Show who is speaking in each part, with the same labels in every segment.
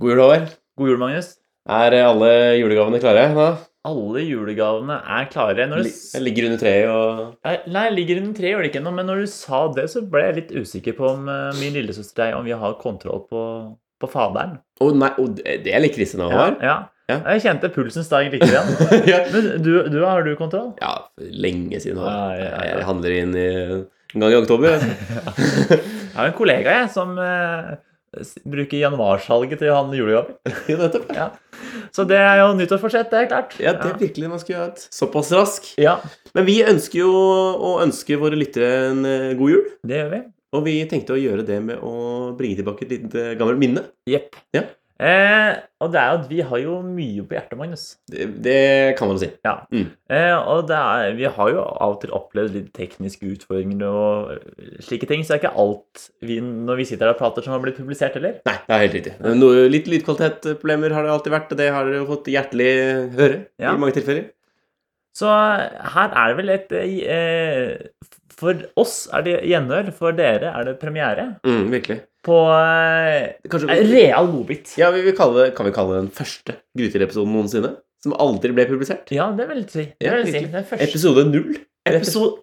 Speaker 1: God jul, Håvard.
Speaker 2: God jul, Magnus.
Speaker 1: Er eh, alle julegavene klare? Da?
Speaker 2: Alle julegavene er klare. Når du... s-
Speaker 1: Li- Ligger under treet og
Speaker 2: Nei, Nei, ligger under tre, gjør det ikke ennå. Men når du sa det, så ble jeg litt usikker på om eh, min lillesøster og jeg, om vi har kontroll på, på faderen.
Speaker 1: Å nei, å, det det er litt kristent,
Speaker 2: Ja,
Speaker 1: Håvard.
Speaker 2: ja.
Speaker 1: Ja.
Speaker 2: Jeg kjente pulsen steg litt. Igjen.
Speaker 1: Ja.
Speaker 2: Men du, du, har du kontroll?
Speaker 1: ja, lenge siden. Håvard.
Speaker 2: Ah, Ja, ja, ja.
Speaker 1: Jeg handler inn i, en gang i oktober.
Speaker 2: Jeg har en kollega jeg som eh, s- bruker januarsalget til å handle julegaver.
Speaker 1: Ja, nettopp.
Speaker 2: Ja. Så det er jo nyttårsforsett, det er klart.
Speaker 1: Ja, det er virkelig man skulle hatt. Såpass rask.
Speaker 2: ja,
Speaker 1: Men vi ønsker jo å ønske våre lyttere en eh, god jul.
Speaker 2: det gjør vi.
Speaker 1: Og vi tenkte å gjøre det med å bringe tilbake et litt eh, gammelt minne.
Speaker 2: Jepp.
Speaker 1: Ja.
Speaker 2: Eh, og det er jo at vi har jo mye på hjertet, Magnus.
Speaker 1: Det, det kan man jo si.
Speaker 2: Ja.
Speaker 1: Mm.
Speaker 2: Eh, og det er, vi har jo av og til opplevd litt tekniske utfordringer og eh, slike ting, så det er ikke alt vi, når vi sitter her og prater, som har blitt publisert heller.
Speaker 1: Nei, det er helt riktig. Noe, litt lydkvalitetproblemer har det alltid vært, og det har dere jo fått hjertelig høre
Speaker 2: Ja.
Speaker 1: i mange tilfeller.
Speaker 2: Så her er det vel et eh, For oss er det gjenhør, for dere er det premiere
Speaker 1: Mm, virkelig.
Speaker 2: på eh,
Speaker 1: Kanskje,
Speaker 2: en real godbit.
Speaker 1: ja, vi vil kalle det, kan vi kalle det den første Grytil-episoden noensinne? Som aldri ble publisert?
Speaker 2: Ja, det vil jeg si. Det
Speaker 1: Ja,
Speaker 2: vil jeg si.
Speaker 1: virkelig.
Speaker 2: Den første
Speaker 1: Episode null.
Speaker 2: episode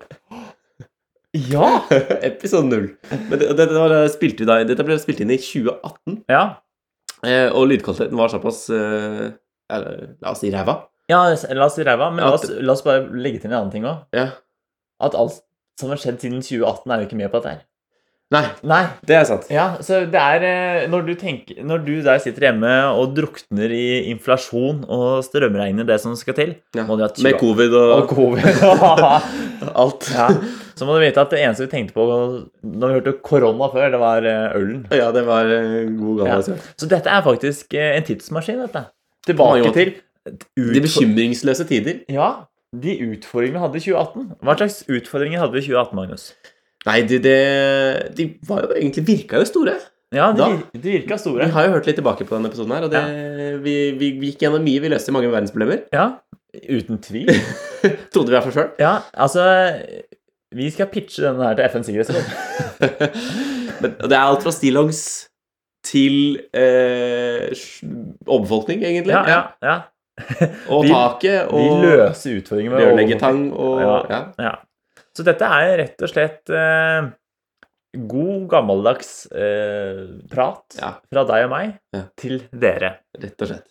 Speaker 2: Ja!
Speaker 1: Episode null. Men det, dette, var, spilte vi da, dette ble spilt inn i 2018,
Speaker 2: Ja,
Speaker 1: eh, og lydkvaliteten var såpass eh, eller, La oss si ræva.
Speaker 2: ja la oss si ræva, men
Speaker 1: Ja,
Speaker 2: la oss, la oss bare legge til en annen ting òg.
Speaker 1: Ja.
Speaker 2: At alt som har skjedd siden 2018, er jo ikke med på dette her.
Speaker 1: Nei,
Speaker 2: Nei,
Speaker 1: det er sant.
Speaker 2: Ja, så det er eh, når du, tenker, når du der sitter hjemme og drukner i inflasjon og strømregner det som skal til
Speaker 1: Ja.
Speaker 2: må du ha tjue-
Speaker 1: Med covid og,
Speaker 2: og covid.
Speaker 1: alt.
Speaker 2: ja. Så må du vite at det eneste vi tenkte på når vi hørte korona før, det var eh, ølen.
Speaker 1: Ja, det var eh, god
Speaker 2: Ja.
Speaker 1: gammel.
Speaker 2: Så dette er faktisk eh, en tidsmaskin, dette.
Speaker 1: Mange
Speaker 2: Tilbake
Speaker 1: måter.
Speaker 2: til
Speaker 1: De
Speaker 2: utfor-
Speaker 1: bekymringsløse tider.
Speaker 2: Ja, de utfordringene vi hadde i 2018. Hva slags utfordringer hadde vi i 2018, Magnus?
Speaker 1: Nei, de, de, de var jo egentlig virka jo store.
Speaker 2: Ja, de,
Speaker 1: Da?
Speaker 2: vir- de virka store.
Speaker 1: Vi har jo hørt litt tilbake på denne episoden her, og det, vi, vi, vi gikk gjennom mye. Vi løste mange verdensproblemer.
Speaker 2: Ja, uten tvil.
Speaker 1: Trodde vi i hvert fall sjøl.
Speaker 2: Ja, altså Vi skal pitche denne her til FNs sikkerhetsråd.
Speaker 1: Men det er alt fra stillongs til eh, sj- overbefolkning, egentlig.
Speaker 2: Ja, ja, ja.
Speaker 1: Og
Speaker 2: Vi-
Speaker 1: taket
Speaker 2: Vi
Speaker 1: og
Speaker 2: løser utfordringer med
Speaker 1: rørleggertang og ja.
Speaker 2: Ja. Så dette er rett og slett eh, god, gammeldags eh, prat
Speaker 1: Ja.
Speaker 2: fra deg og meg
Speaker 1: Ja.
Speaker 2: til dere.
Speaker 1: rett og slett.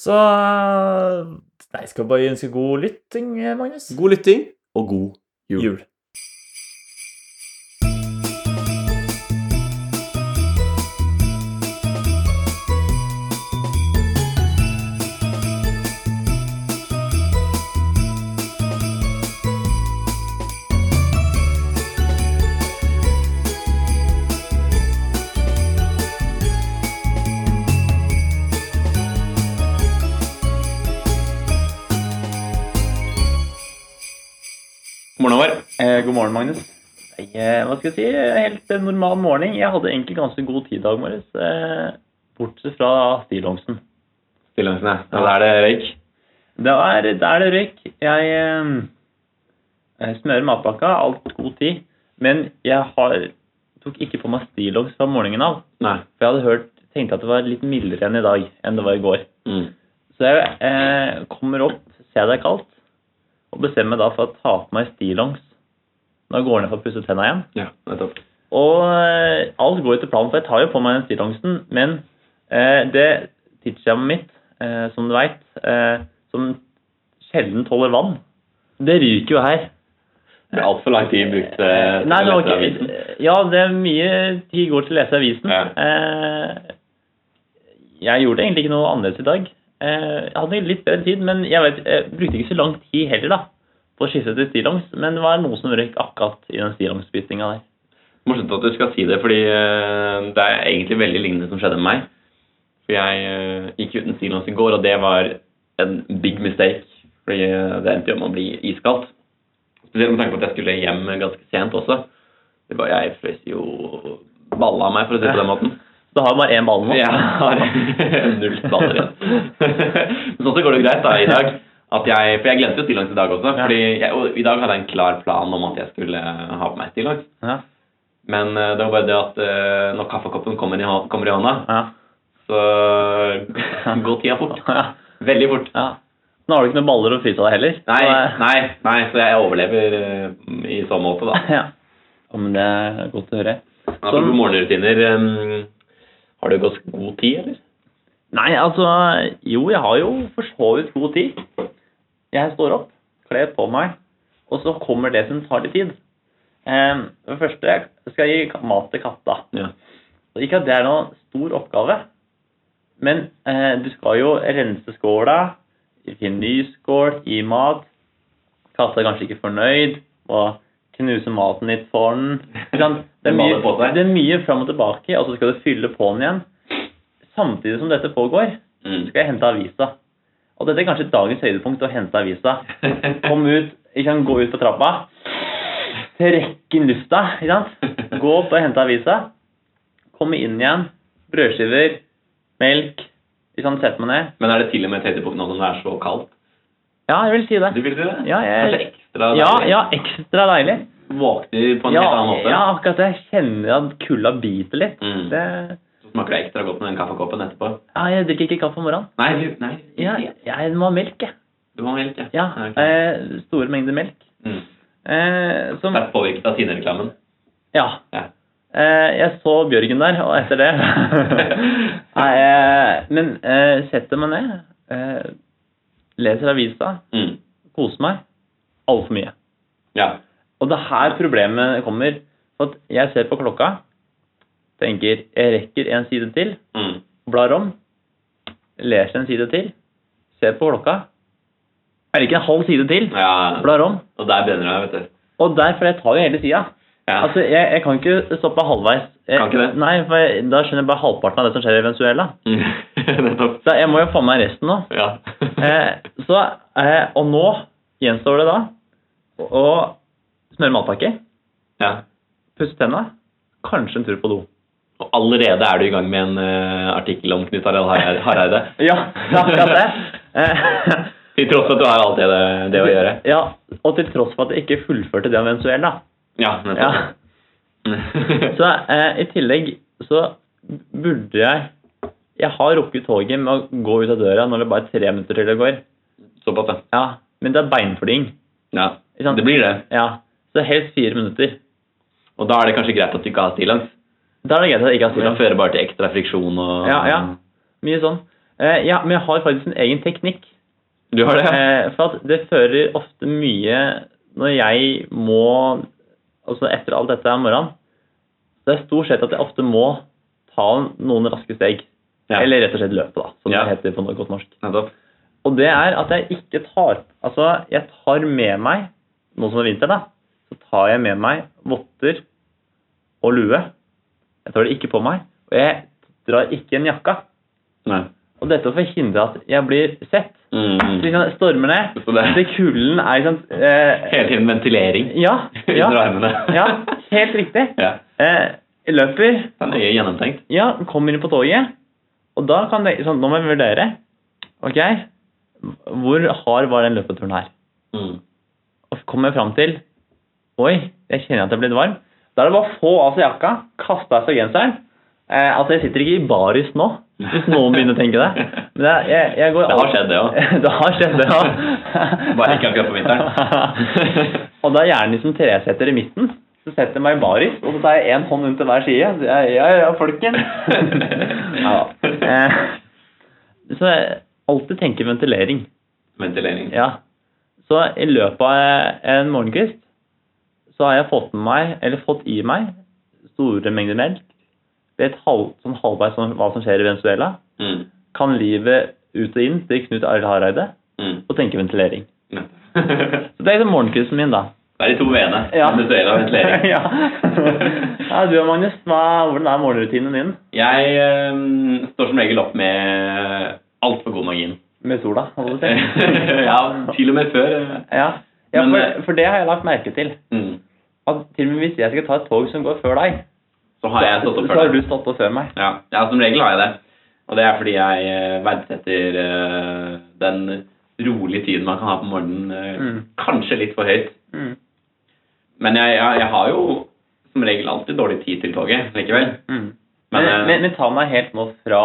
Speaker 2: Så eh, Nei, skal vi bare ønske god lytting, eh, Magnus.
Speaker 1: God lytting og god jul.
Speaker 2: jul.
Speaker 1: Morgen, Håvard.
Speaker 2: Eh, god morgen, Magnus. Eh, hva skal jeg si? Helt en normal morgen. Jeg hadde egentlig ganske god tid i dag morges, eh, bortsett fra stillongsen.
Speaker 1: Stillongsen, ja. Da er det røyk.
Speaker 2: Det er, det er det røyk. Jeg, eh, jeg smører matpakka, alt god tid. Men jeg har, tok ikke på meg stillongs fra morgenen av.
Speaker 1: Nei.
Speaker 2: For jeg hadde hørt, tenkte at det var litt mildere enn i dag enn det var i går.
Speaker 1: Mm.
Speaker 2: Så jeg eh, kommer opp, ser det er kaldt, og bestemmer meg da for å ta på meg stillongs når jeg går ned for å pusse tenna igjen.
Speaker 1: Ja, nettopp.
Speaker 2: Og eh, alt går etter planen, for jeg tar jo på meg den stillongsen, men eh, det tidsskjemaet mitt, eh, som du veit, eh, som sjelden tåler vann, det ryker jo her.
Speaker 1: Det er altfor lang tid brukt
Speaker 2: Eh, Nei, det var ikke Ja, det er mye tid går til å lese avisen.
Speaker 1: Ja.
Speaker 2: Eh, Jeg gjorde egentlig ikke noe annerledes i dag. Eh, Jeg hadde litt bedre tid, men jeg, vet, jeg brukte ikke så lang tid heller, da. På å skifte til stillongs, men det var noe som røyk akkurat i den stillongsspissinga der.
Speaker 3: Morsomt at du skal si det, fordi eh, det er egentlig veldig lignende som skjedde med meg. For jeg eh, gikk uten stillongs i går, og det var en big mistake. Fordi eh, det endte jo med å bli iskaldt. Spesielt med tanke på at jeg skulle hjem ganske sent også. Det var Jeg frøs jo balla av meg, for å si det på den måten.
Speaker 2: Da har jeg bare én ball nå.
Speaker 3: Jeg har null baller igjen. Men sånn så går det greit da i dag. At jeg, for jeg glemte jo stillongs i dag også. Fordi jeg, og I dag hadde jeg en klar plan om at jeg skulle ha på meg stillongs.
Speaker 2: Ja.
Speaker 3: eh, Men eh, det var bare det at eh, når kaffekoppen kommer i, hå- kommer i hånda,
Speaker 2: Ja.
Speaker 3: Så går tida fort.
Speaker 2: Ja.
Speaker 3: Veldig fort. eh,
Speaker 2: ja. Nå har du ikke noen baller å fryse av heller. så-
Speaker 3: Nei, nei, nei, så jeg overlever eh, i så måte, da.
Speaker 2: ja. Ja, Men det er godt å høre.
Speaker 3: Apropos morgenrutiner. eh, Har du gått god tid, eller?
Speaker 2: Nei, altså Jo, jeg har jo for så vidt god tid. Jeg står opp, kler på meg, og så kommer det som tar litt tid. Um, det første skal jeg gi mat til katta.
Speaker 3: Ja.
Speaker 2: Og ikke at det er noen stor oppgave, men eh, du skal jo rense skåla, finne ny skål, gi mat. Katta er kanskje ikke fornøyd, og knuse maten litt for den. Ikke sant? Det, er
Speaker 3: Den maler på
Speaker 2: mye,
Speaker 3: seg.
Speaker 2: det er mye fram og tilbake, og så skal du fylle på den igjen. Samtidig som dette pågår, så
Speaker 3: Mm.
Speaker 2: skal jeg hente avisa. Og dette er kanskje dagens høydepunkt, å hente avisa. Kom ut, ikke sant, gå ut på trappa, trekke inn lufta, ikke sant? Gå opp og hente avisa, komme inn igjen, brødskiver, melk, ikke sant, sette meg ned.
Speaker 3: Men er det til og med et høydepunkt nå som det er så kaldt?
Speaker 2: Ja, jeg vil si
Speaker 3: Du
Speaker 2: det.
Speaker 3: vil si det?
Speaker 2: Ja, jeg-
Speaker 3: Kanskje ekstra
Speaker 2: Ja,
Speaker 3: deilig?
Speaker 2: ja, ekstra deilig.
Speaker 3: Våkner på en
Speaker 2: Ja,
Speaker 3: helt annen måte?
Speaker 2: ja, akkurat det. Jeg kjenner at kulda biter litt.
Speaker 3: Mm.
Speaker 2: Det,
Speaker 3: Så smaker det ekstra godt med den kaffekoppen etterpå?
Speaker 2: ja, jeg drikker ikke kaffe om morgenen.
Speaker 3: Nei, du, nei.
Speaker 2: Ja, jeg, jeg må ha melk, jeg.
Speaker 3: du må ha melk, ja.
Speaker 2: Ja,
Speaker 3: ok.
Speaker 2: eh, store mengder melk.
Speaker 3: Mm.
Speaker 2: Eh, som,
Speaker 3: Det er påvirket av Tine-reklamen.
Speaker 2: ja,
Speaker 3: Ja.
Speaker 2: Eh, jeg så Bjørgen der, og etter det Nei, eh, Men eh, setter meg ned, eh, leser avisa,
Speaker 3: Mm.
Speaker 2: koser meg altfor mye.
Speaker 3: Ja.
Speaker 2: Og det er her problemet kommer. For at jeg ser på klokka, tenker jeg rekker en side til,
Speaker 3: Mm.
Speaker 2: blar om, leser en side til, ser på klokka Jeg rekker en halv side til,
Speaker 3: ja.
Speaker 2: blar om,
Speaker 3: Og der begynner det, vet du.
Speaker 2: og derfor jeg tar jo hele sida.
Speaker 3: Ja.
Speaker 2: Altså, jeg, jeg kan ikke stoppe halvveis. Jeg,
Speaker 3: Kan ikke det?
Speaker 2: Nei, for jeg, Da skjønner jeg bare halvparten av det som skjer i Venezuela.
Speaker 3: Mm. Nettopp.
Speaker 2: Så jeg må jo få med resten nå.
Speaker 3: Ja.
Speaker 2: Eh, så, eh, og nå gjenstår det da å smøre matpakke,
Speaker 3: ja.
Speaker 2: pusse tenna, kanskje en tur på do.
Speaker 3: Og allerede er du i gang med en eh, artikkel om Knut Harald Har- Hareide.
Speaker 2: Ja, det er akkurat det. Eh,
Speaker 3: Til tross for at du har alt det, det å gjøre.
Speaker 2: ja, og til tross for at jeg ikke fullførte det om Venezuela.
Speaker 3: Ja,
Speaker 2: Ja.
Speaker 3: nettopp.
Speaker 2: Så eh, i tillegg så burde jeg Jeg har rukket toget med å gå ut av døra når det bare er tre minutter til det går.
Speaker 3: Såpass, ja.
Speaker 2: Ja, men det er beinflying.
Speaker 3: ja.
Speaker 2: Ikke sant?
Speaker 3: Det blir det.
Speaker 2: Ja, så helst fire minutter.
Speaker 3: Og da er det kanskje greit at du ikke har stillongs.
Speaker 2: Da er det greit at jeg ikke har
Speaker 3: For det
Speaker 2: stillongs.
Speaker 3: fører bare til ekstra friksjon og
Speaker 2: Ja, ja. Mye sånn. Eh, ja, men jeg har faktisk en egen teknikk.
Speaker 3: Du har det? ja?
Speaker 2: Eh, for at det fører ofte mye Når jeg må Altså etter alt dette om morgenen, så det er stort sett at jeg ofte må ta noen raske steg.
Speaker 3: Ja.
Speaker 2: Eller rett og slett løpe, da, som
Speaker 3: Ja.
Speaker 2: det heter på no- godt norsk.
Speaker 3: Nettopp.
Speaker 2: Og det er at jeg ikke tar Altså, jeg tar med meg Nå som det er vinter, da, så tar jeg med meg votter og lue. Jeg tar det ikke på meg. Og jeg drar ikke en jakka.
Speaker 3: Nei.
Speaker 2: Og dette for å hindre at jeg blir sett. Så
Speaker 3: Mm.
Speaker 2: liksom, jeg stormer ned.
Speaker 3: Så det
Speaker 2: Det kulden er ikke sant eh,
Speaker 3: hele tiden ventilering
Speaker 2: Ja.
Speaker 3: under
Speaker 2: ja,
Speaker 3: armene.
Speaker 2: ja helt riktig.
Speaker 3: ja.
Speaker 2: Eh, jeg løper.
Speaker 3: Det er nøye gjennomtenkt.
Speaker 2: Ja, kommer inn på toget, og da kan det sånn, Nå må jeg vurdere. Ok, hvor hard var den løpeturen her?
Speaker 3: Mm.
Speaker 2: Og kommer jeg fram til Oi, jeg kjenner at jeg er blitt varm. Da er det bare å få av seg jakka, kaste av seg genseren. Eh, altså, jeg sitter ikke i baris nå, hvis noen begynner å tenke det. Men jeg, jeg, jeg går
Speaker 3: Det har skjedd, det òg.
Speaker 2: det har skjedd, det òg.
Speaker 3: Bare ikke akkurat på vinteren.
Speaker 2: og da er gjerne liksom treseter i midten. Så setter jeg meg i baris, og så tar jeg én hånd rundt til hver side. Så jeg, ja, ja, folken. ja. Eh, så jeg alltid tenker ventilering.
Speaker 3: Ventilering.
Speaker 2: Ja. Så i løpet av en morgenkvist så har jeg fått med meg, eller fått i meg, store mengder melk. Vet halv, sånn halvveis om hva som skjer i Venezuela.
Speaker 3: Mm.
Speaker 2: Kan livet ut og inn til Knut Arild Hareide
Speaker 3: Mm.
Speaker 2: og tenke ventilering.
Speaker 3: Ja.
Speaker 2: Så det er liksom morgenkvisten min, da.
Speaker 3: Det er de to v-ene.
Speaker 2: Ja.
Speaker 3: Industriell og ventilering.
Speaker 2: ja. ja, du og Magnus, hva, hvordan er morgenrutinen din
Speaker 3: Jeg eh, står som regel opp med altfor god margin.
Speaker 2: med sola? holdt jeg på å si?
Speaker 3: ja, til og med før. eh.
Speaker 2: ja. ja
Speaker 3: Men,
Speaker 2: for, for det har jeg lagt merke til.
Speaker 3: Mm.
Speaker 2: At til og med hvis jeg skal ta et tog som går før deg,
Speaker 3: Så har jeg stått opp
Speaker 2: så
Speaker 3: før
Speaker 2: har
Speaker 3: deg.
Speaker 2: du stått opp før meg.
Speaker 3: Ja. ja, som regel har jeg det. Og det er fordi jeg eh, verdsetter eh, den rolige tiden man kan ha på morgenen. eh,
Speaker 2: Mm.
Speaker 3: Kanskje litt for høyt.
Speaker 2: Mm.
Speaker 3: Men jeg, jeg, jeg har jo som regel alltid dårlig tid til toget likevel.
Speaker 2: Mm.
Speaker 3: Men,
Speaker 2: Men,
Speaker 3: eh,
Speaker 2: men, men ta meg helt nå fra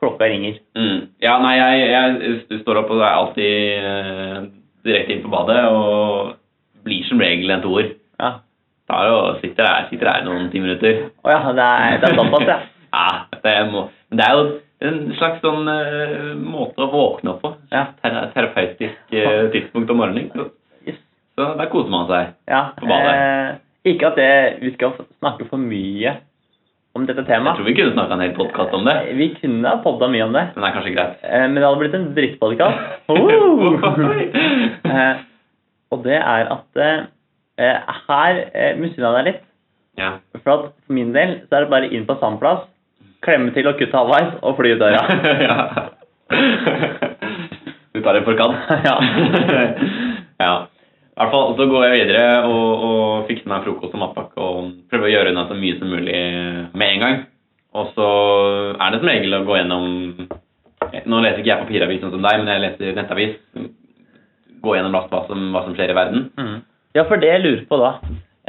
Speaker 2: klokka ringer.
Speaker 3: Mm. Ja, nei, jeg, jeg st- står opp og er alltid eh, direkte inn på badet og blir som regel en toer.
Speaker 2: Ja.
Speaker 3: Da er jo, sitter jeg sitter her noen ti minutter.
Speaker 2: Å ja, det er, det er såpass, ja.
Speaker 3: ja, det, må, men det er jo en slags sånn eh, måte å våkne opp på.
Speaker 2: Ja.
Speaker 3: Tera- terapeutisk eh, tidspunkt om morgenen. Så,
Speaker 2: Yes.
Speaker 3: så der koser man seg.
Speaker 2: ja.
Speaker 3: På badet.
Speaker 2: Eh, ikke at det, vi skal snakke for mye om dette
Speaker 3: Jeg
Speaker 2: temaet.
Speaker 3: tror vi kunne snakka en hel podkast om det,
Speaker 2: Vi kunne ha podda mye om det,
Speaker 3: men det er kanskje greit.
Speaker 2: eh, men det hadde blitt en drittpodkast. Oh! Eh, og det er at eh, her eh, misunner jeg deg litt.
Speaker 3: ja.
Speaker 2: For at for min del så er det bare inn på samme plass, klemme til og kutte halvveis og fly ut døra.
Speaker 3: ja. Du tar en forkant.
Speaker 2: Ja.
Speaker 3: ja. I hvert fall så går jeg videre og, og fikser meg frokost og matpakke og prøver å gjøre unna så mye som mulig med en gang. Og så er det som regel å gå gjennom eh, Nå leser ikke jeg papiravis sånn som deg, men jeg leser nettavis. Gå gjennom raskt hva som, hva som skjer i verden.
Speaker 2: Mm. Ja, for det jeg lurer på da,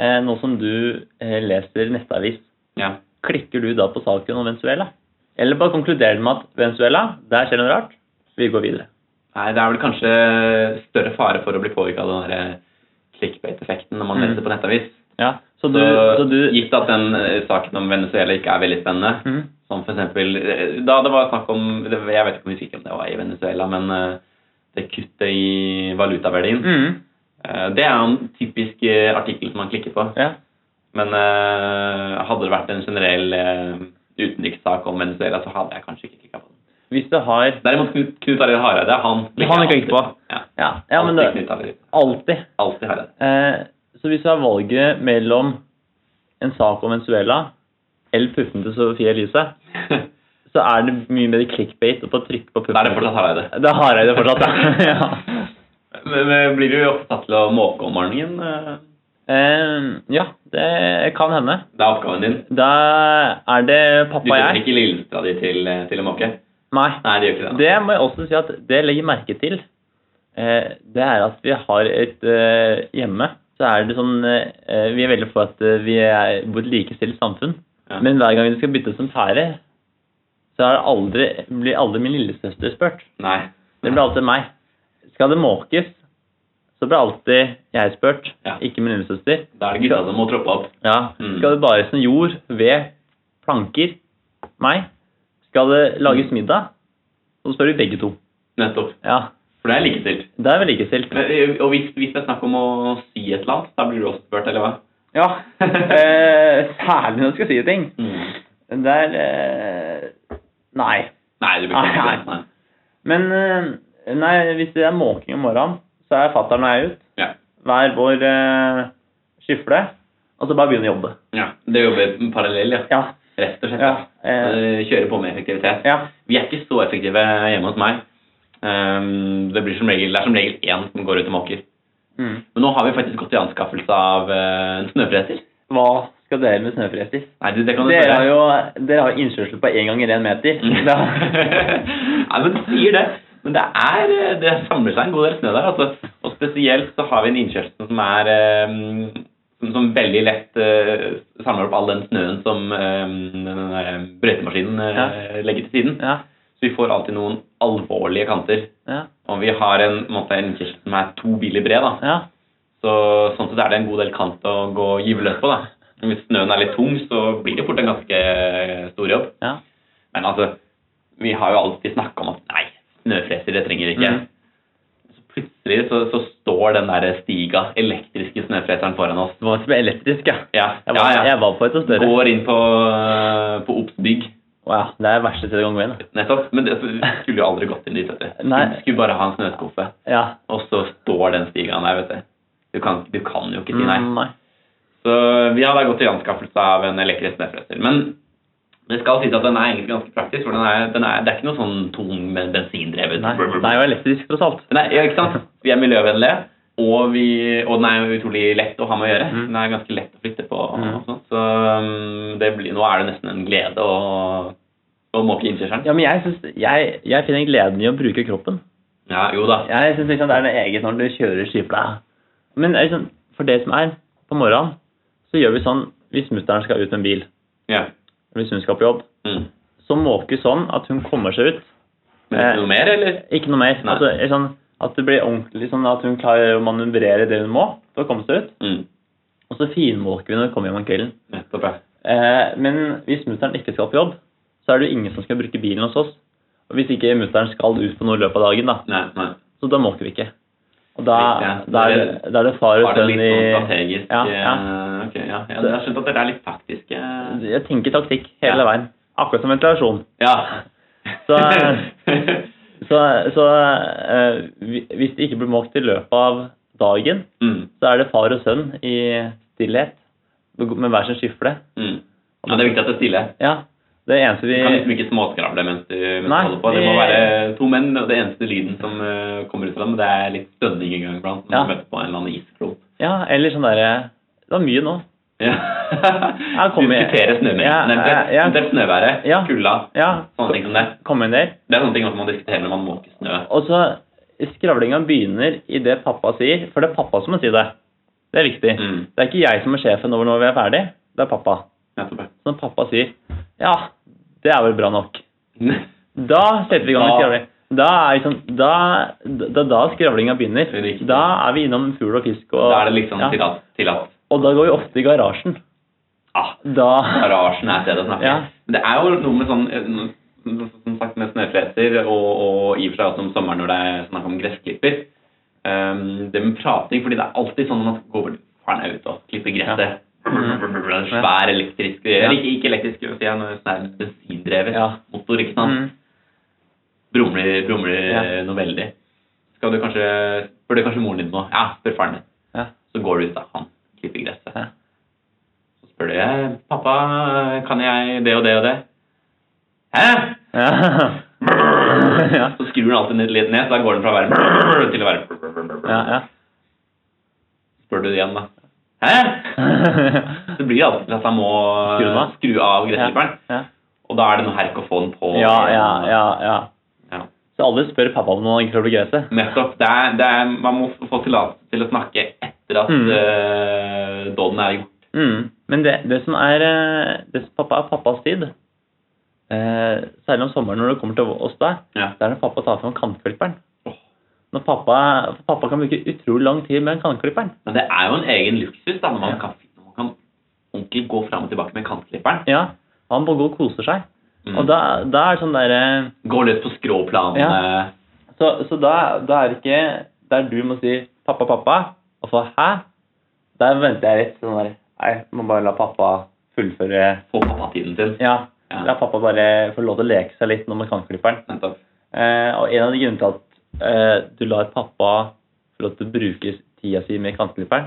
Speaker 2: eh, nå som du eh, leser nettavis,
Speaker 3: Ja.
Speaker 2: klikker du da på saken om Venezuela? Eller bare konkluderer du med at Venezuela, der skjer noe rart, vi går videre.
Speaker 3: Nei, det er vel kanskje større fare for å bli påvirka av den der clickbait-effekten når man
Speaker 2: Mm.
Speaker 3: leser på nettavis.
Speaker 2: Ja, så du,
Speaker 3: Så,
Speaker 2: så du
Speaker 3: gitt at den eh, saken om Venezuela ikke er veldig spennende,
Speaker 2: mm,
Speaker 3: som for eksempel eh, Da det var snakk om det- Jeg vet ikke om vi fikk om det var i Venezuela, men eh, det kuttet i valutaverdien
Speaker 2: mm,
Speaker 3: eh, Det er jo en typisk eh, artikkel som man klikker på.
Speaker 2: ja.
Speaker 3: Men eh, hadde det vært en generell eh, utenrikssak om Venezuela, så hadde jeg kanskje ikke klikka på den.
Speaker 2: Hvis du har
Speaker 3: Derimot Knut, Knut Arild Hareide, han
Speaker 2: Han
Speaker 3: jeg
Speaker 2: klikker på.
Speaker 3: alltid Ja.
Speaker 2: Ja, ja men det,
Speaker 3: Alltid Knut Arild.
Speaker 2: alltid.
Speaker 3: Alltid Hareide.
Speaker 2: Eh, så hvis du har valget mellom en sak om Venezuela eller puppen til Sofie Elise, så er det mye mer clickbait å få trykke på
Speaker 3: Da er
Speaker 2: puppen.
Speaker 3: det fortsatt Hareide.
Speaker 2: Det har jeg det fortsatt, ja. ja.
Speaker 3: Men, men blir du ofte tatt til å måke om morgenen? eh?
Speaker 2: Eh, ja, det kan hende.
Speaker 3: Det er oppgaven din.
Speaker 2: Da er det
Speaker 3: Du
Speaker 2: pappa og
Speaker 3: setter
Speaker 2: jeg.
Speaker 3: ikke lillesøstera di til, eh, til å måke?
Speaker 2: Nei,
Speaker 3: Nei, det gjør ikke det.
Speaker 2: det må jeg også si at det jeg legger merke til, eh, det er at vi har et eh, hjemme, så er det sånn, eh, vi er veldig for at eh, vi er bor i et likestilt samfunn,
Speaker 3: Ja.
Speaker 2: men hver gang vi skal bytte som pære, så er det aldri, blir aldri min lillesøster spurt.
Speaker 3: Nei.
Speaker 2: Det blir alltid meg. Skal det måkes, så blir alltid jeg spurt,
Speaker 3: Ja.
Speaker 2: ikke min lillesøster.
Speaker 3: Da er det gutta som må troppe opp.
Speaker 2: Ja.
Speaker 3: Mm.
Speaker 2: Skal det bare som jord, ved, planker, meg? Skal det lages middag? Så spør vi begge to.
Speaker 3: Nettopp.
Speaker 2: Ja,
Speaker 3: For det er likestilt.
Speaker 2: det er vel likestilt.
Speaker 3: Men, eh, Og hvis, hvis det er snakk om å si et eller annet, da blir du også spurt, eller hva?
Speaker 2: Ja, eh, særlig når du skal si ting.
Speaker 3: Mm.
Speaker 2: Det er eh, Nei.
Speaker 3: Nei, du blir ikke
Speaker 2: Nei,
Speaker 3: spurt. Nei.
Speaker 2: Men eh, nei, hvis det er måking om morgenen, så er fatter'n og jeg ut.
Speaker 3: Ja.
Speaker 2: Hver vår eh, skifle. Og så bare begynne å jobbe.
Speaker 3: ja. Det jobber parallell, ja.
Speaker 2: Ja.
Speaker 3: Rett og slett.
Speaker 2: Ja. Eh,
Speaker 3: Eh, Kjøre på med effektivitet.
Speaker 2: ja.
Speaker 3: Vi er ikke så effektive hjemme hos meg. Ehm, det, blir som regel, det er som regel én som går ut og måker.
Speaker 2: Mm.
Speaker 3: Men nå har vi faktisk gått i anskaffelse av eh, en snøfreser.
Speaker 2: Hva skal dere med snøfreser?
Speaker 3: Nei, det, det kan du
Speaker 2: Dere har
Speaker 3: spørre.
Speaker 2: jo dere har jo innkjørsel på én ganger én meter. Da,
Speaker 3: Nei, men du sier det. Men det er eh, Det samler seg en god del snø der. Altså. Og spesielt så har vi en innkjørsel som er eh, som, som veldig lett eh, samler opp all den snøen som eh, den der brøytemaskinen eh, legger til siden.
Speaker 2: ja,
Speaker 3: Så vi får alltid noen alvorlige kanter.
Speaker 2: ja,
Speaker 3: Og vi har en, på en måte, en innkjørsel som er to biler bred, da.
Speaker 2: ja.
Speaker 3: Så sånn sett er det en god del kant å gå og gyve løs på, da. Hvis snøen er litt tung, så blir det fort en ganske eh, stor jobb.
Speaker 2: ja.
Speaker 3: Men altså, vi har jo alltid snakka om at nei, snøfreser, det trenger vi ikke.
Speaker 2: Mhm.
Speaker 3: Så plutselig så, så står den der stiga, elektriske snøfreseren foran oss.
Speaker 2: Det var som elektrisk, ja.
Speaker 3: Ja,
Speaker 2: Jeg
Speaker 3: ja,
Speaker 2: var,
Speaker 3: ja.
Speaker 2: Jeg var på et og større.
Speaker 3: Går inn på, øh, på Ops bygg,
Speaker 2: Å ja, det er det verste stedet å gå inn. da.
Speaker 3: nettopp. Men det skulle jo aldri gått inn dit, vet du.
Speaker 2: Nei.
Speaker 3: Vi skulle bare ha en snøskuffe.
Speaker 2: Ja.
Speaker 3: Og så står den stigaen der, vet du. Du kan, du kan jo ikke si nei.
Speaker 2: Mm, nei.
Speaker 3: Så vi har da gått til anskaffelse av en elektrisk snøfreser. Men det skal sies at den er egentlig ganske praktisk, for den er, den er, det er ikke noe sånn tung men bensindrevet.
Speaker 2: Nei. Den er jo elektrisk, tross alt.
Speaker 3: Den er, ja, ikke sant? Vi er miljøvennlige, og, vi, og den er jo utrolig lett å ha med å gjøre.
Speaker 2: Mm.
Speaker 3: Den er ganske lett å flytte på. og
Speaker 2: Mm.
Speaker 3: sånt. Så um, det blir, nå er det nesten en glede å, å måke innkjørselen.
Speaker 2: Ja, men jeg, synes, jeg, jeg finner gleden i å bruke kroppen.
Speaker 3: Ja, jo da.
Speaker 2: Jeg syns liksom det er noe eget når du kjører skifla. Men det er liksom, for det som er, på morgenen så gjør vi sånn hvis mutter'n skal ut med en bil,
Speaker 3: Ja.
Speaker 2: eller hvis hun skal på jobb,
Speaker 3: Mm.
Speaker 2: så måke sånn at hun kommer seg ut.
Speaker 3: Men er det noe mer, eller?
Speaker 2: Ikke noe mer.
Speaker 3: Nei.
Speaker 2: Altså, er sånn, at det blir ordentlig sånn at hun klarer å manøvrere det hun må for å komme seg ut.
Speaker 3: Mm.
Speaker 2: Og så finmåker vi når vi kommer hjem om kvelden.
Speaker 3: Nettopp, ja.
Speaker 2: Eh, men hvis mutter'n ikke skal på jobb, så er det jo ingen som skal bruke bilen hos oss. Og hvis ikke mutter'n skal ut på noe i løpet av dagen, da,
Speaker 3: Nei, nei.
Speaker 2: så da måker vi ikke. Og da,
Speaker 3: Riktig, ja.
Speaker 2: da, er, det, da er det far og
Speaker 3: Var det
Speaker 2: sønn
Speaker 3: litt
Speaker 2: i
Speaker 3: sånn strategisk
Speaker 2: Ja,
Speaker 3: ja,
Speaker 2: ja.
Speaker 3: Ok, ja. ja. Jeg har skjønt at dere er litt taktiske
Speaker 2: Jeg tenker taktikk hele
Speaker 3: Ja.
Speaker 2: veien. Akkurat som ventilasjon.
Speaker 3: Ja. mm,
Speaker 2: Så, så, så eh, hvi- hvis det ikke blir måkt i løpet av dagen,
Speaker 3: mm,
Speaker 2: så er det far og sønn i stillhet med hver sin skifle.
Speaker 3: mm. Ja, det er viktig at det er stille.
Speaker 2: Ja, det eneste
Speaker 3: Du
Speaker 2: vi
Speaker 3: kan liksom ikke småskravle mens du mens du
Speaker 2: Nei,
Speaker 3: holder på. Det må
Speaker 2: vi-
Speaker 3: være to menn, og det eneste lyden som eh, kommer ut fra dem, det er litt stønning en gang iblant.
Speaker 2: Ja.
Speaker 3: Når du møter på en eller annen isklump.
Speaker 2: Ja, eller sånn derre Det var mye nå.
Speaker 3: Ja.
Speaker 2: kommer jeg.
Speaker 3: Diskutere
Speaker 2: Ja,
Speaker 3: snømengden.
Speaker 2: ja, ja.
Speaker 3: Eventuelt snøværet,
Speaker 2: Ja.
Speaker 3: kulda,
Speaker 2: Ja,
Speaker 3: sånne ting som det.
Speaker 2: kom inn der.
Speaker 3: Det er sånne ting også man diskuterer når man måker snø.
Speaker 2: Og så skravlinga begynner i det pappa sier, for det er pappa som må si det. Det er viktig.
Speaker 3: Mm.
Speaker 2: Det er ikke jeg som er sjefen over når vi er ferdig, det er pappa.
Speaker 3: Nettopp. ja.
Speaker 2: Så når pappa sier 'ja, det er vel bra nok', da setter vi i gang med
Speaker 3: Da-
Speaker 2: skravling. Da er liksom, da, da, da skravlinga begynner.
Speaker 3: Riktig.
Speaker 2: Da er vi innom fugl og fisk og
Speaker 3: Da er det liksom
Speaker 2: ja.
Speaker 3: tillatt. tillatt.
Speaker 2: Og da går vi ofte i garasjen.
Speaker 3: Ah,
Speaker 2: Da
Speaker 3: garasjen er stedet å snakke.
Speaker 2: Ja.
Speaker 3: Men det er jo noe med sånn eh, som sagt med snøfreser, og, og i og for seg også om sommeren når det er snakk om gressklipper. Ehm, det med prating, fordi det er alltid sånn når man skal gå over faen jeg er ute og klipper gresset.
Speaker 2: Mm.
Speaker 3: Svær elektrisk Eller ikke, ikke elektrisk, sier jeg, når det er bensindrevet
Speaker 2: Ja.
Speaker 3: motor, ikke sant.
Speaker 2: Mm.
Speaker 3: Brumler, brumler
Speaker 2: Ja.
Speaker 3: eh, noe veldig. Skal du kanskje Spør du kanskje moren din nå? Ja, spør faren din.
Speaker 2: Ja.
Speaker 3: Så går du ut, da. Han klipper gresset.
Speaker 2: Ja.
Speaker 3: Så spør du «Eh, pappa, kan jeg det og det og det? Hæ?
Speaker 2: Ja. Ja.
Speaker 3: Så skrur han alltid ned- litt ned, så da går den fra å være brrr til å være brrr, brrr, brrr.
Speaker 2: Ja, ja.
Speaker 3: Spør du det igjen, da. Hæ? Så blir det alltid til at han må
Speaker 2: Skru den av?
Speaker 3: skru av gressklipperen.
Speaker 2: Ja.
Speaker 3: Og da er det noe herk å få den på.
Speaker 2: ja, ja, ja, ja.
Speaker 3: Ja.
Speaker 2: Så alle spør pappa om noe krøll og grøse.
Speaker 3: Nettopp. Det er, det er, man må f- få tillatelse til å snakke etter at
Speaker 2: Mm.
Speaker 3: eh, dåden er gjort.
Speaker 2: Mm. Men det, det som er eh, det som pappa er pappas tid, eh, særlig om sommeren når det kommer til oss der,
Speaker 3: Ja.
Speaker 2: det er når pappa tar fram kantklipperen.
Speaker 3: Åh.
Speaker 2: Når pappa, for pappa kan bruke utrolig lang tid med den kantklipperen.
Speaker 3: Men det er jo en egen luksus da, når man,
Speaker 2: Ja.
Speaker 3: kan, når man kan ordentlig gå fram og tilbake med kantklipperen.
Speaker 2: Ja, han bare går og koser seg.
Speaker 3: Mm.
Speaker 2: Og da, da er det sånn der, eh,
Speaker 3: Gå løs på eh, skråplanene.
Speaker 2: så, så da, da er det ikke der du må si 'pappa, pappa', og så 'hæ'? Der venter jeg litt. sånn der, Nei, må bare la pappa fullføre
Speaker 3: Få pappatiden sin.
Speaker 2: Ja.
Speaker 3: Ja.
Speaker 2: La pappa bare få lov til å leke seg litt nå med kantklipperen.
Speaker 3: Nettopp.
Speaker 2: Eh, og en av de grunnene til at eh, du lar pappa få lov til å bruke tida si med kantklipperen,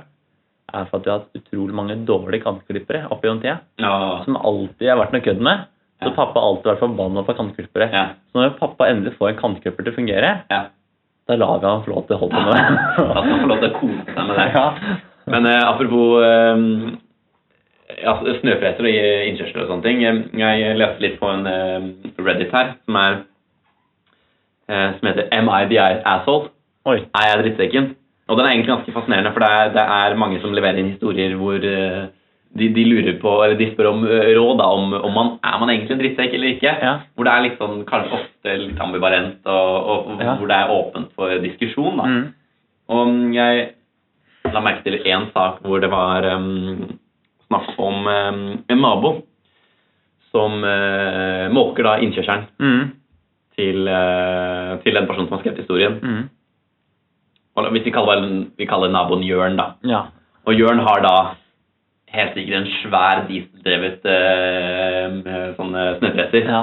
Speaker 2: er for at vi har hatt utrolig mange dårlige kantklippere opp gjennom tida,
Speaker 3: Ja.
Speaker 2: som alltid har vært noe kødd med. Så
Speaker 3: Ja.
Speaker 2: pappa har alltid vært forbanna på kantklippere.
Speaker 3: Ja.
Speaker 2: Så når pappa endelig får en kantklipper til å fungere,
Speaker 3: ja.
Speaker 2: da lar vi han få lov til å holde på med
Speaker 3: At
Speaker 2: det.
Speaker 3: man får lov til å kose seg med det.
Speaker 2: Ja.
Speaker 3: Men eh, apropos eh, ja, snøfreser og eh, innkjørsler og sånne ting. eh, Jeg leste litt på en eh, Reddit her som, er, eh, som heter Am I the asshole?
Speaker 2: Oi.
Speaker 3: Er jeg drittsekken? Og den er egentlig ganske fascinerende, for det er, det er mange som leverer inn historier hvor eh, de, de lurer på, eller de spør om eh, råd da, om, om man er man egentlig en drittsekk eller ikke.
Speaker 2: Ja.
Speaker 3: Hvor det er litt sånn, kanskje ofte litt ambivalent, og, og
Speaker 2: Ja.
Speaker 3: hvor det er åpent for diskusjon. da.
Speaker 2: Mm.
Speaker 3: Og jeg la merke til én sak hvor det var um, snakk om um, en nabo som eh, måker da innkjørselen
Speaker 2: Mm.
Speaker 3: til, eh, til den personen som har skrevet historien.
Speaker 2: Mm.
Speaker 3: Og hvis vi kaller, vi kaller naboen Jørn, da.
Speaker 2: Ja.
Speaker 3: Og Jørn har da helt sikkert en svær dieseldrevet uh, sånn eh, snøfreser.
Speaker 2: ja.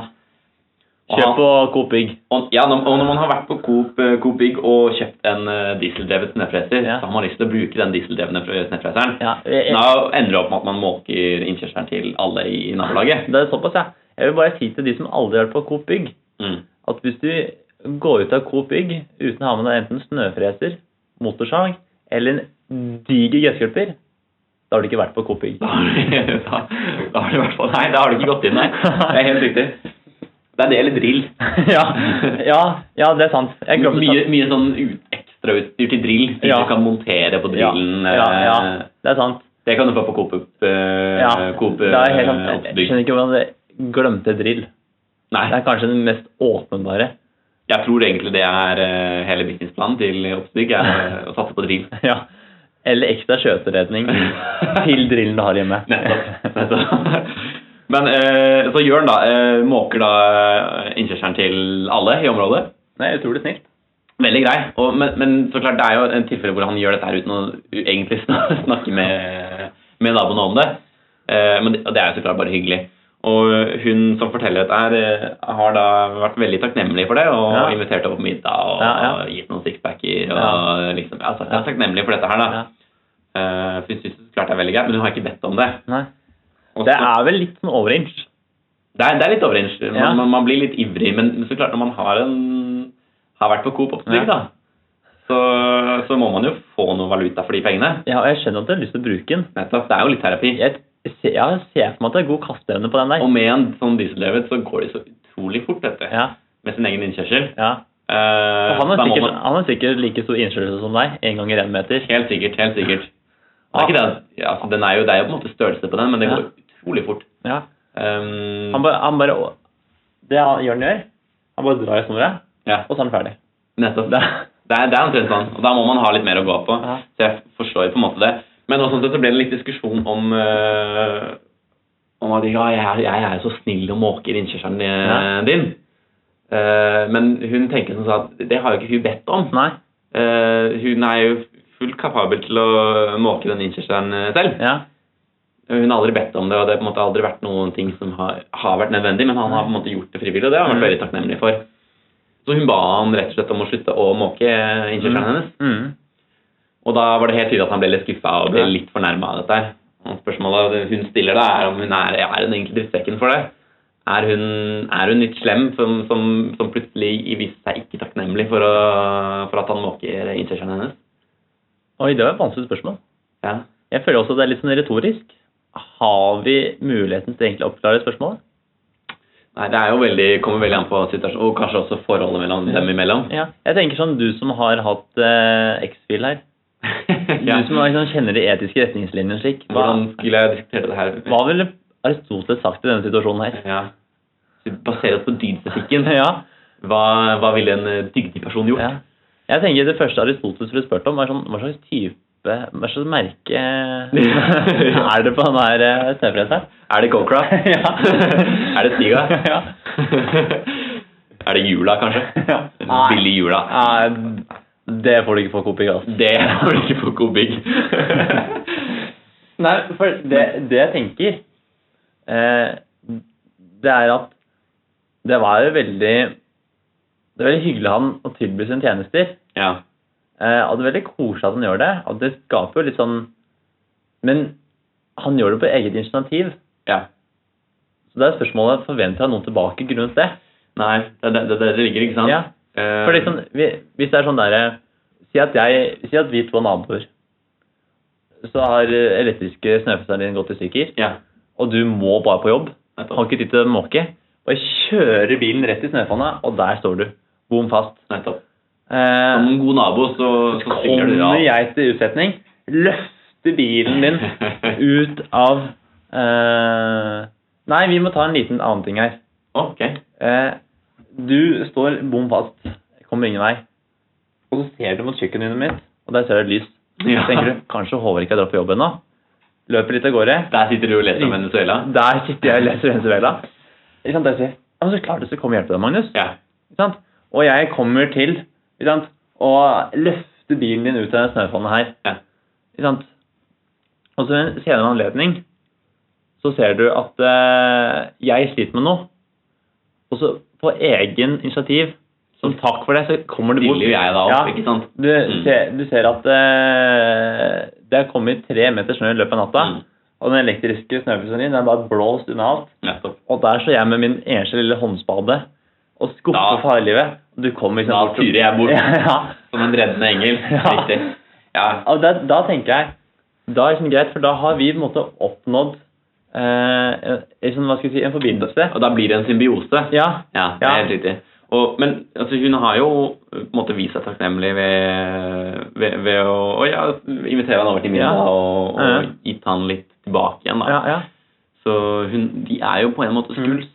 Speaker 3: Og han-
Speaker 2: Kjøp på Coop Big.
Speaker 3: Og, ja, når, og når man har vært på Coop, eh, Coop Big og kjøpt en eh, dieseldrevet snøfreser,
Speaker 2: Ja.
Speaker 3: så har man lyst til å bruke den dieseldrevne fre- snøfreseren.
Speaker 2: Ja. Jeg-
Speaker 3: Da ender det opp med at man måker innkjørselen til alle i i nabolaget.
Speaker 2: Det er såpass, ja. Jeg vil bare si til de som aldri har vært på Coop Bygg,
Speaker 3: Mm.
Speaker 2: at hvis du går ut av Coop Bygg uten å ha med deg enten snøfreser, motorsag eller en diger gressklipper, da har du ikke vært på Coop Bygg.
Speaker 3: Da, da, da har du i hvert fall Nei, da har du ikke gått inn der. Det er helt riktig. Det er det eller drill.
Speaker 2: ja, ja, ja, det er sant. Jeg glemte
Speaker 3: Mye, mye sånn ut, ekstrautstyr til drill. Ting
Speaker 2: Ja.
Speaker 3: du kan montere på
Speaker 2: ja,
Speaker 3: drillen.
Speaker 2: ja, ja,
Speaker 3: eh,
Speaker 2: det er sant.
Speaker 3: Det kan du få på Coop. Uh,
Speaker 2: Ja,
Speaker 3: Coop
Speaker 2: det er helt
Speaker 3: eh,
Speaker 2: sant. Jeg
Speaker 3: Oppbygg.
Speaker 2: skjønner ikke hvordan det glemte drill.
Speaker 3: Nei.
Speaker 2: Det er kanskje den mest åpenbare.
Speaker 3: Jeg tror egentlig det er eh, hele businessplanen til Oppstig, er eh, å satse på drill.
Speaker 2: Ja. Eller ekstra skjøteredning til drillen du har hjemme.
Speaker 3: Nettopp. nettopp. Men eh, så Jørn da, eh, måker da eh, innkjørselen til alle i området.
Speaker 2: Nei, utrolig snilt.
Speaker 3: Veldig grei. Og, men, men så klart, det er jo en tilfelle hvor han gjør dette her uten å u- egentlig sn- snakke med, med naboene om det. Eh, men det, og det er jo så klart bare hyggelig. Og hun som forteller dette her, eh, har da vært veldig takknemlig for det og
Speaker 2: Ja.
Speaker 3: invitert over på middag og,
Speaker 2: Ja, ja.
Speaker 3: gitt noen sixpacker og
Speaker 2: Ja.
Speaker 3: liksom ja, sagt, Jeg er takknemlig for dette her, da.
Speaker 2: Ja.
Speaker 3: Eh, for hun syns så klart det er veldig greit, men hun har ikke bedt om det.
Speaker 2: Nei.
Speaker 3: Og
Speaker 2: Det
Speaker 3: så-
Speaker 2: er vel litt sånn overinch.
Speaker 3: det er, det er litt overinch. Man,
Speaker 2: Ja.
Speaker 3: man, man blir litt ivrig, men men så klart når man har, en, har vært på Coop Oppstig,
Speaker 2: Ja.
Speaker 3: da, så, så må man jo få noe valuta for de pengene.
Speaker 2: Ja, og jeg skjønner at jeg har lyst til å bruke den.
Speaker 3: Nettopp, Det er jo litt terapi.
Speaker 2: Jeg, ser- jeg ser for meg at det er god kasteevne på den der.
Speaker 3: Og med en sånn dieseldrevet så går det så utrolig fort, vet du.
Speaker 2: Ja,
Speaker 3: Med sin egen innkjørsel.
Speaker 2: ja.
Speaker 3: Eh,
Speaker 2: Og han er
Speaker 3: da må
Speaker 2: sikkert,
Speaker 3: man,
Speaker 2: han er sikkert like stor innskyldelse som deg, en gang i en meter.
Speaker 3: Helt sikkert. helt sikkert. Det er ikke det, at- ja, altså, den er jo, det er jo på en måte størrelse på den, men det
Speaker 2: Ja.
Speaker 3: går utrolig fort.
Speaker 2: Ja.
Speaker 3: Um,
Speaker 2: Han bare, han bare Det han Jørn gjør, han bare drar i snora,
Speaker 3: ja,
Speaker 2: og så er han ferdig.
Speaker 3: nettopp.
Speaker 2: Det,
Speaker 3: Det er, det er omtrent sånn, og da må man ha litt mer å gå på.
Speaker 2: Ja.
Speaker 3: Så jeg forstår på en måte det. Men også, sånn sett så ble det litt diskusjon om øh, om at ja, jeg, er- jeg er så snill og måker innkjørselen øh, din. Eh, men hun tenker som sa at det har jo ikke hun bedt om.
Speaker 2: nei.
Speaker 3: Eh, hun er jo fullt kapabel til å måke den innkjørselen øh, selv.
Speaker 2: Ja.
Speaker 3: Hun har aldri bedt om det, og det har på en måte aldri vært noen ting som har, har vært nødvendig, men han har på en måte gjort det frivillig, og det har han vært
Speaker 2: Mm.
Speaker 3: veldig takknemlig for. Så hun ba han rett og slett om å slutte å måke eh, innkjørselen hennes.
Speaker 2: Mm.
Speaker 3: Og da var det helt tydelig at han ble litt skuffa og ble
Speaker 2: Ja.
Speaker 3: litt fornærma av dette. her. Og Spørsmålet hun stiller da, er om hun er, er hun egentlig drittsekken for det. Er hun, er hun litt slem som, som, som plutselig viste seg ikke takknemlig for, å, for at han måker innkjørselen hennes?
Speaker 2: Oi, det var et vanskelig spørsmål.
Speaker 3: Ja.
Speaker 2: Jeg føler også at det er litt sånn retorisk. Har vi muligheten til egentlig å oppklare spørsmålet?
Speaker 3: Nei, Det er jo veldig, kommer veldig an på situasjonen, og kanskje også forholdet mellom
Speaker 2: Mm.
Speaker 3: dem imellom.
Speaker 2: Ja. Jeg tenker sånn, du som har hatt eh, X-fil her,
Speaker 3: Ja.
Speaker 2: du som liksom kjenner de etiske retningslinjene slik, hva,
Speaker 3: Hvordan skulle jeg diskutere det her?
Speaker 2: hva ville Aristoteles sagt i denne situasjonen her?
Speaker 3: Ja. Basere oss på dydsefikken.
Speaker 2: Ja,
Speaker 3: Hva, hva ville en eh, dyktig person gjort?
Speaker 2: ja. Jeg tenker det første Aristoteles ville spurt om, var sånn, hva slags type, hva slags merke er det på den her eh, snøfreseren?
Speaker 3: Er det Cocra?
Speaker 2: Ja.
Speaker 3: er det Stiga?
Speaker 2: Ja.
Speaker 3: er det jula, kanskje?
Speaker 2: Ja.
Speaker 3: Den Billig jula.
Speaker 2: Nei, det får du ikke få kopi gass.
Speaker 3: Det har du ikke på Kobig.
Speaker 2: Nei, for det, det jeg tenker, eh, det er at det var jo veldig Det er veldig hyggelig av han å tilby sine tjenester.
Speaker 3: ja.
Speaker 2: Eh, og det er veldig koselig at han gjør det. Og det skaper jo litt sånn Men han gjør det på eget initiativ.
Speaker 3: ja.
Speaker 2: Så det er spørsmålet forventer han noe tilbake grunnet det.
Speaker 3: Nei, det er det, det, det ligger, ikke sant?
Speaker 2: Ja.
Speaker 3: Eh,
Speaker 2: For liksom, vi- hvis det er sånn derre si, at jeg- si at vi to er naboer. Så har eh, elektriske snøfreseren din gått i stykker,
Speaker 3: Eh, Ja.
Speaker 2: og du må bare på jobb. Har
Speaker 3: Nettopp.
Speaker 2: ikke tid til å måke. Bare kjører bilen rett i snøfonna, og der står du. Bom fast.
Speaker 3: Nettopp. Som
Speaker 2: Eh,
Speaker 3: en god nabo, så, så stiller du
Speaker 2: kommer jeg til utsetning, løfter bilen din ut av eh, Nei, vi må ta en liten annen ting her.
Speaker 3: Ok.
Speaker 2: Eh, du står bom fast, kommer ingen vei. Og så ser du mot kjøkkenet mitt, og der ser du et lys.
Speaker 3: Ja.
Speaker 2: Tenker du, Kanskje Håvard ikke har dratt på jobb ennå? Løper litt av gårde.
Speaker 3: Der sitter du og leser om Venezuela.
Speaker 2: Der sitter jeg og leser Venezuela. Ikke sant, der sier jeg, ja, men så klart det skal komme og hjelpe deg, Magnus.
Speaker 3: Ja.
Speaker 2: Ikke sant? Og jeg kommer til ikke sant? å løfte bilen din ut av den snøfonnet her.
Speaker 3: Ja.
Speaker 2: Ikke sant? Og så ved en senere anledning så ser du at eh, jeg sliter med noe. Og så på egen initiativ, som takk for det, så kommer du bort.
Speaker 3: Stiller jo jeg Mm. da opp,
Speaker 2: Ja.
Speaker 3: ikke sant?
Speaker 2: Du, ser, du ser at eh, det er kommet tre meter snø i løpet av natta.
Speaker 3: Mm.
Speaker 2: Og den elektriske snøfryseren din den er bare blåst unna alt.
Speaker 3: Nettopp.
Speaker 2: Og der står jeg med min eneste lille håndspade og skuffer
Speaker 3: Da-
Speaker 2: farlivet. Og du kommer ikke
Speaker 3: Da
Speaker 2: sant-
Speaker 3: fyrer jeg bort.
Speaker 2: Ja, ja.
Speaker 3: Som en reddende engel.
Speaker 2: Ja.
Speaker 3: Riktig. Ja.
Speaker 2: Og da, da tenker jeg Da er det sånn greit, for da har vi på en måte oppnådd eh, en- en sånn, hva skal jeg si, en forbindelse.
Speaker 3: Og da blir det en symbiose.
Speaker 2: Ja.
Speaker 3: Ja, det er
Speaker 2: Ja.
Speaker 3: helt riktig. Og, men altså, hun har jo på en måte vist seg takknemlig ved, ved, ved å, å ja, invitere han over til middag
Speaker 2: Ja.
Speaker 3: og, og
Speaker 2: Ja.
Speaker 3: gitt han litt tilbake igjen. Da.
Speaker 2: ja, ja. Mm.
Speaker 3: Så hun, de er jo på en måte skuls.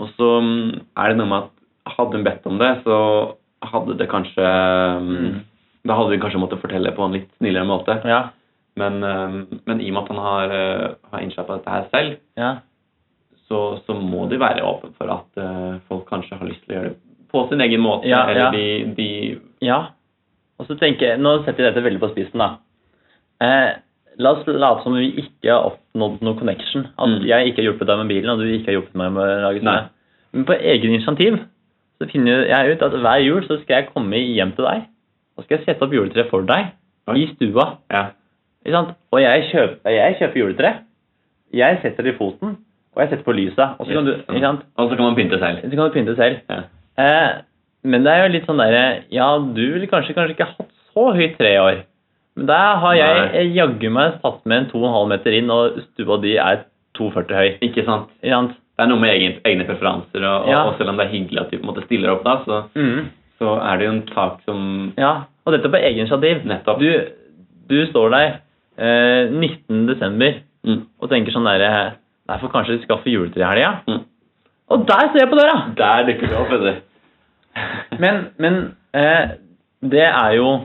Speaker 3: Og så mm, er det noe med at hadde hun bedt om det, så hadde det kanskje mm, Da hadde vi kanskje måttet fortelle på en litt snillere måte.
Speaker 2: Ja.
Speaker 3: Men, eh, men i og med at han har, eh, har innskjerpa dette her selv,
Speaker 2: ja.
Speaker 3: så, så må de være åpne for at eh, folk kanskje har lyst til å gjøre det på sin egen måte.
Speaker 2: Ja, ja.
Speaker 3: eller De, de
Speaker 2: Ja. Og så tenker jeg, Nå setter jeg dette veldig på spissen, da. Eh, la oss late som vi ikke har oppnådd noe connection. At
Speaker 3: Mm.
Speaker 2: jeg ikke har hjulpet deg med bilen, og du ikke har hjulpet meg med å lage snø.
Speaker 3: Nei.
Speaker 2: Men på egen initiativ så finner jeg ut at hver jul så skal jeg komme hjem til deg. Og skal jeg sette opp juletre for deg i stua.
Speaker 3: Ja.
Speaker 2: Ikke sant? Og jeg kjøper, jeg kjøper juletre. Jeg setter det i foten, og jeg setter på lyset. Og så kan du,
Speaker 3: Yes.
Speaker 2: ikke sant?
Speaker 3: Og så kan man pynte selv.
Speaker 2: Så kan du pynte selv.
Speaker 3: Ja.
Speaker 2: Eh, men det er jo litt sånn derre Ja, du ville kanskje, kanskje ikke hatt så høyt tre i år. Men der har jeg
Speaker 3: Nei.
Speaker 2: eh, jaggu meg tatt med en 2,5 meter inn, og stua di er 2,40 høy.
Speaker 3: Ikke sant?
Speaker 2: Ikke sant?
Speaker 3: Det er noe med egen, egne preferanser, og,
Speaker 2: Ja.
Speaker 3: og selv om det er hyggelig at de på en måte stiller opp da, så,
Speaker 2: Mm.
Speaker 3: så er det jo en sak som
Speaker 2: Ja, og dette på egen initiativ.
Speaker 3: Nettopp.
Speaker 2: Du, du står der eh, 19. desember
Speaker 3: Mm.
Speaker 2: og tenker sånn derre Nei, får kanskje skaffe juletre i helga.
Speaker 3: Mm.
Speaker 2: Og der ser jeg på døra!
Speaker 3: Der dukker det opp, vet du.
Speaker 2: Men, men eh, det er jo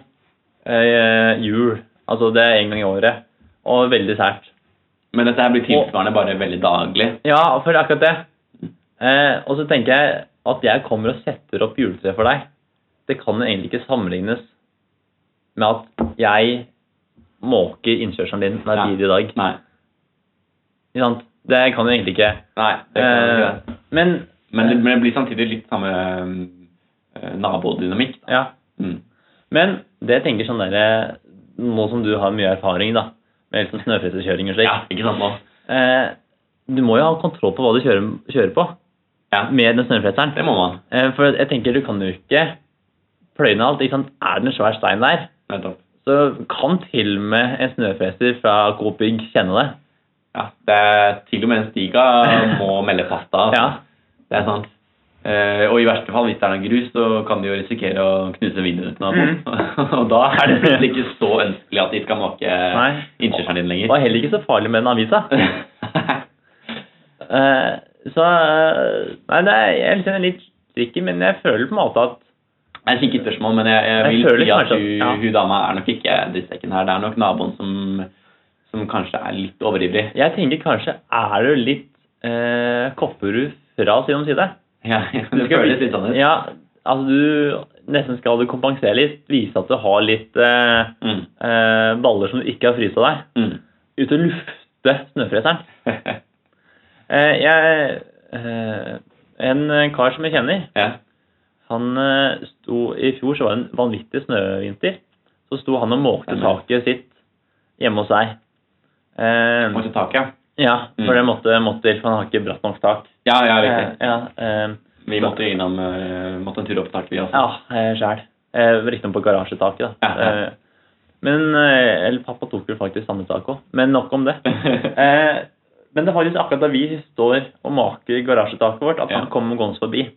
Speaker 2: eh, jul. Altså, det er en gang i året. Og veldig sært.
Speaker 3: Men dette her blir tilsvarende bare veldig daglig.
Speaker 2: Ja, for akkurat det. Eh, og så tenker jeg at jeg kommer og setter opp juletre for deg. Det kan egentlig ikke sammenlignes med at jeg måker innkjørselen din hver
Speaker 3: Nei.
Speaker 2: bidige dag.
Speaker 3: Nei.
Speaker 2: Ikke sant? Det kan jo egentlig ikke.
Speaker 3: Nei, det kan man ikke.
Speaker 2: Eh, men
Speaker 3: Men det, men det blir samtidig litt samme eh, nabodynamikk.
Speaker 2: ja.
Speaker 3: Mm.
Speaker 2: Men det jeg tenker sånn derre Nå som du har mye erfaring da, med liksom snøfreserkjøring og slik,
Speaker 3: Ja, ikke sant nå?
Speaker 2: Eh, du må jo ha kontroll på hva du kjører, kjører på
Speaker 3: Ja,
Speaker 2: med den snøfreseren.
Speaker 3: det må man.
Speaker 2: Eh, for jeg tenker du kan jo ikke pløye ned alt. Ikke sant? Er det en svær stein der,
Speaker 3: Nettopp.
Speaker 2: så kan til og med en snøfreser fra Coop Bygg kjenne det.
Speaker 3: Ja, det er til og med en stiga må melde pasta.
Speaker 2: Ja,
Speaker 3: Det er sant. Eh, og i verste fall, hvis det er noen grus, så kan de jo risikere å knuse vindrutene.
Speaker 2: Mm.
Speaker 3: og sånt. og da er det plutselig ikke så ønskelig at de skal måke
Speaker 2: Nei.
Speaker 3: innkjørselen din
Speaker 2: Og
Speaker 3: lenger.
Speaker 2: er heller ikke så farlig med den avisa. Eh, så eh, Nei, det er, jeg kjenner litt tricky, men jeg føler på en måte at
Speaker 3: Det er et kikkert spørsmål, men jeg, jeg
Speaker 2: Jeg
Speaker 3: vil
Speaker 2: føler
Speaker 3: si at
Speaker 2: kanskje
Speaker 3: hun,
Speaker 2: at- ja.
Speaker 3: hun dama er nok ikke drittsekken her. Det er nok naboen som, som kanskje er litt overivrig.
Speaker 2: Jeg tenker kanskje er du litt eh, Kopperud fra side om side.
Speaker 3: Ja,
Speaker 2: Du
Speaker 3: det
Speaker 2: skal
Speaker 3: føles
Speaker 2: vise-
Speaker 3: litt sånn ut.
Speaker 2: Ja, altså du Nesten skal du kompensere litt. Vise at du har litt eh,
Speaker 3: Mm.
Speaker 2: eh, baller som du ikke har fryst av deg.
Speaker 3: Mm.
Speaker 2: Ut og lufte snøfreseren. Eh, jeg eh, En kar som jeg kjenner,
Speaker 3: ja.
Speaker 2: han eh, sto I fjor så var det en vanvittig snøvinter. Så sto han og måkte
Speaker 3: Stemmer.
Speaker 2: taket sitt hjemme hos seg. Eh,
Speaker 3: Måtte taket, ja.
Speaker 2: ja,
Speaker 3: Mm.
Speaker 2: for det måtte, måtte til, for han har ikke bratt nok tak.
Speaker 3: Ja, ja,
Speaker 2: Eh,
Speaker 3: riktig.
Speaker 2: ja, eh,
Speaker 3: Vi måtte innom eh, måtte en tur opp på taket, vi også.
Speaker 2: Ja, eh, sjæl. Riktignok på garasjetaket, da.
Speaker 3: Ja, ja.
Speaker 2: Eh, Men eh, Eller pappa tok jo faktisk samme tak òg. Men nok om det. Eh, Men det er faktisk akkurat da vi står og maker garasjetaket vårt, at
Speaker 3: Ja.
Speaker 2: han kommer gående forbi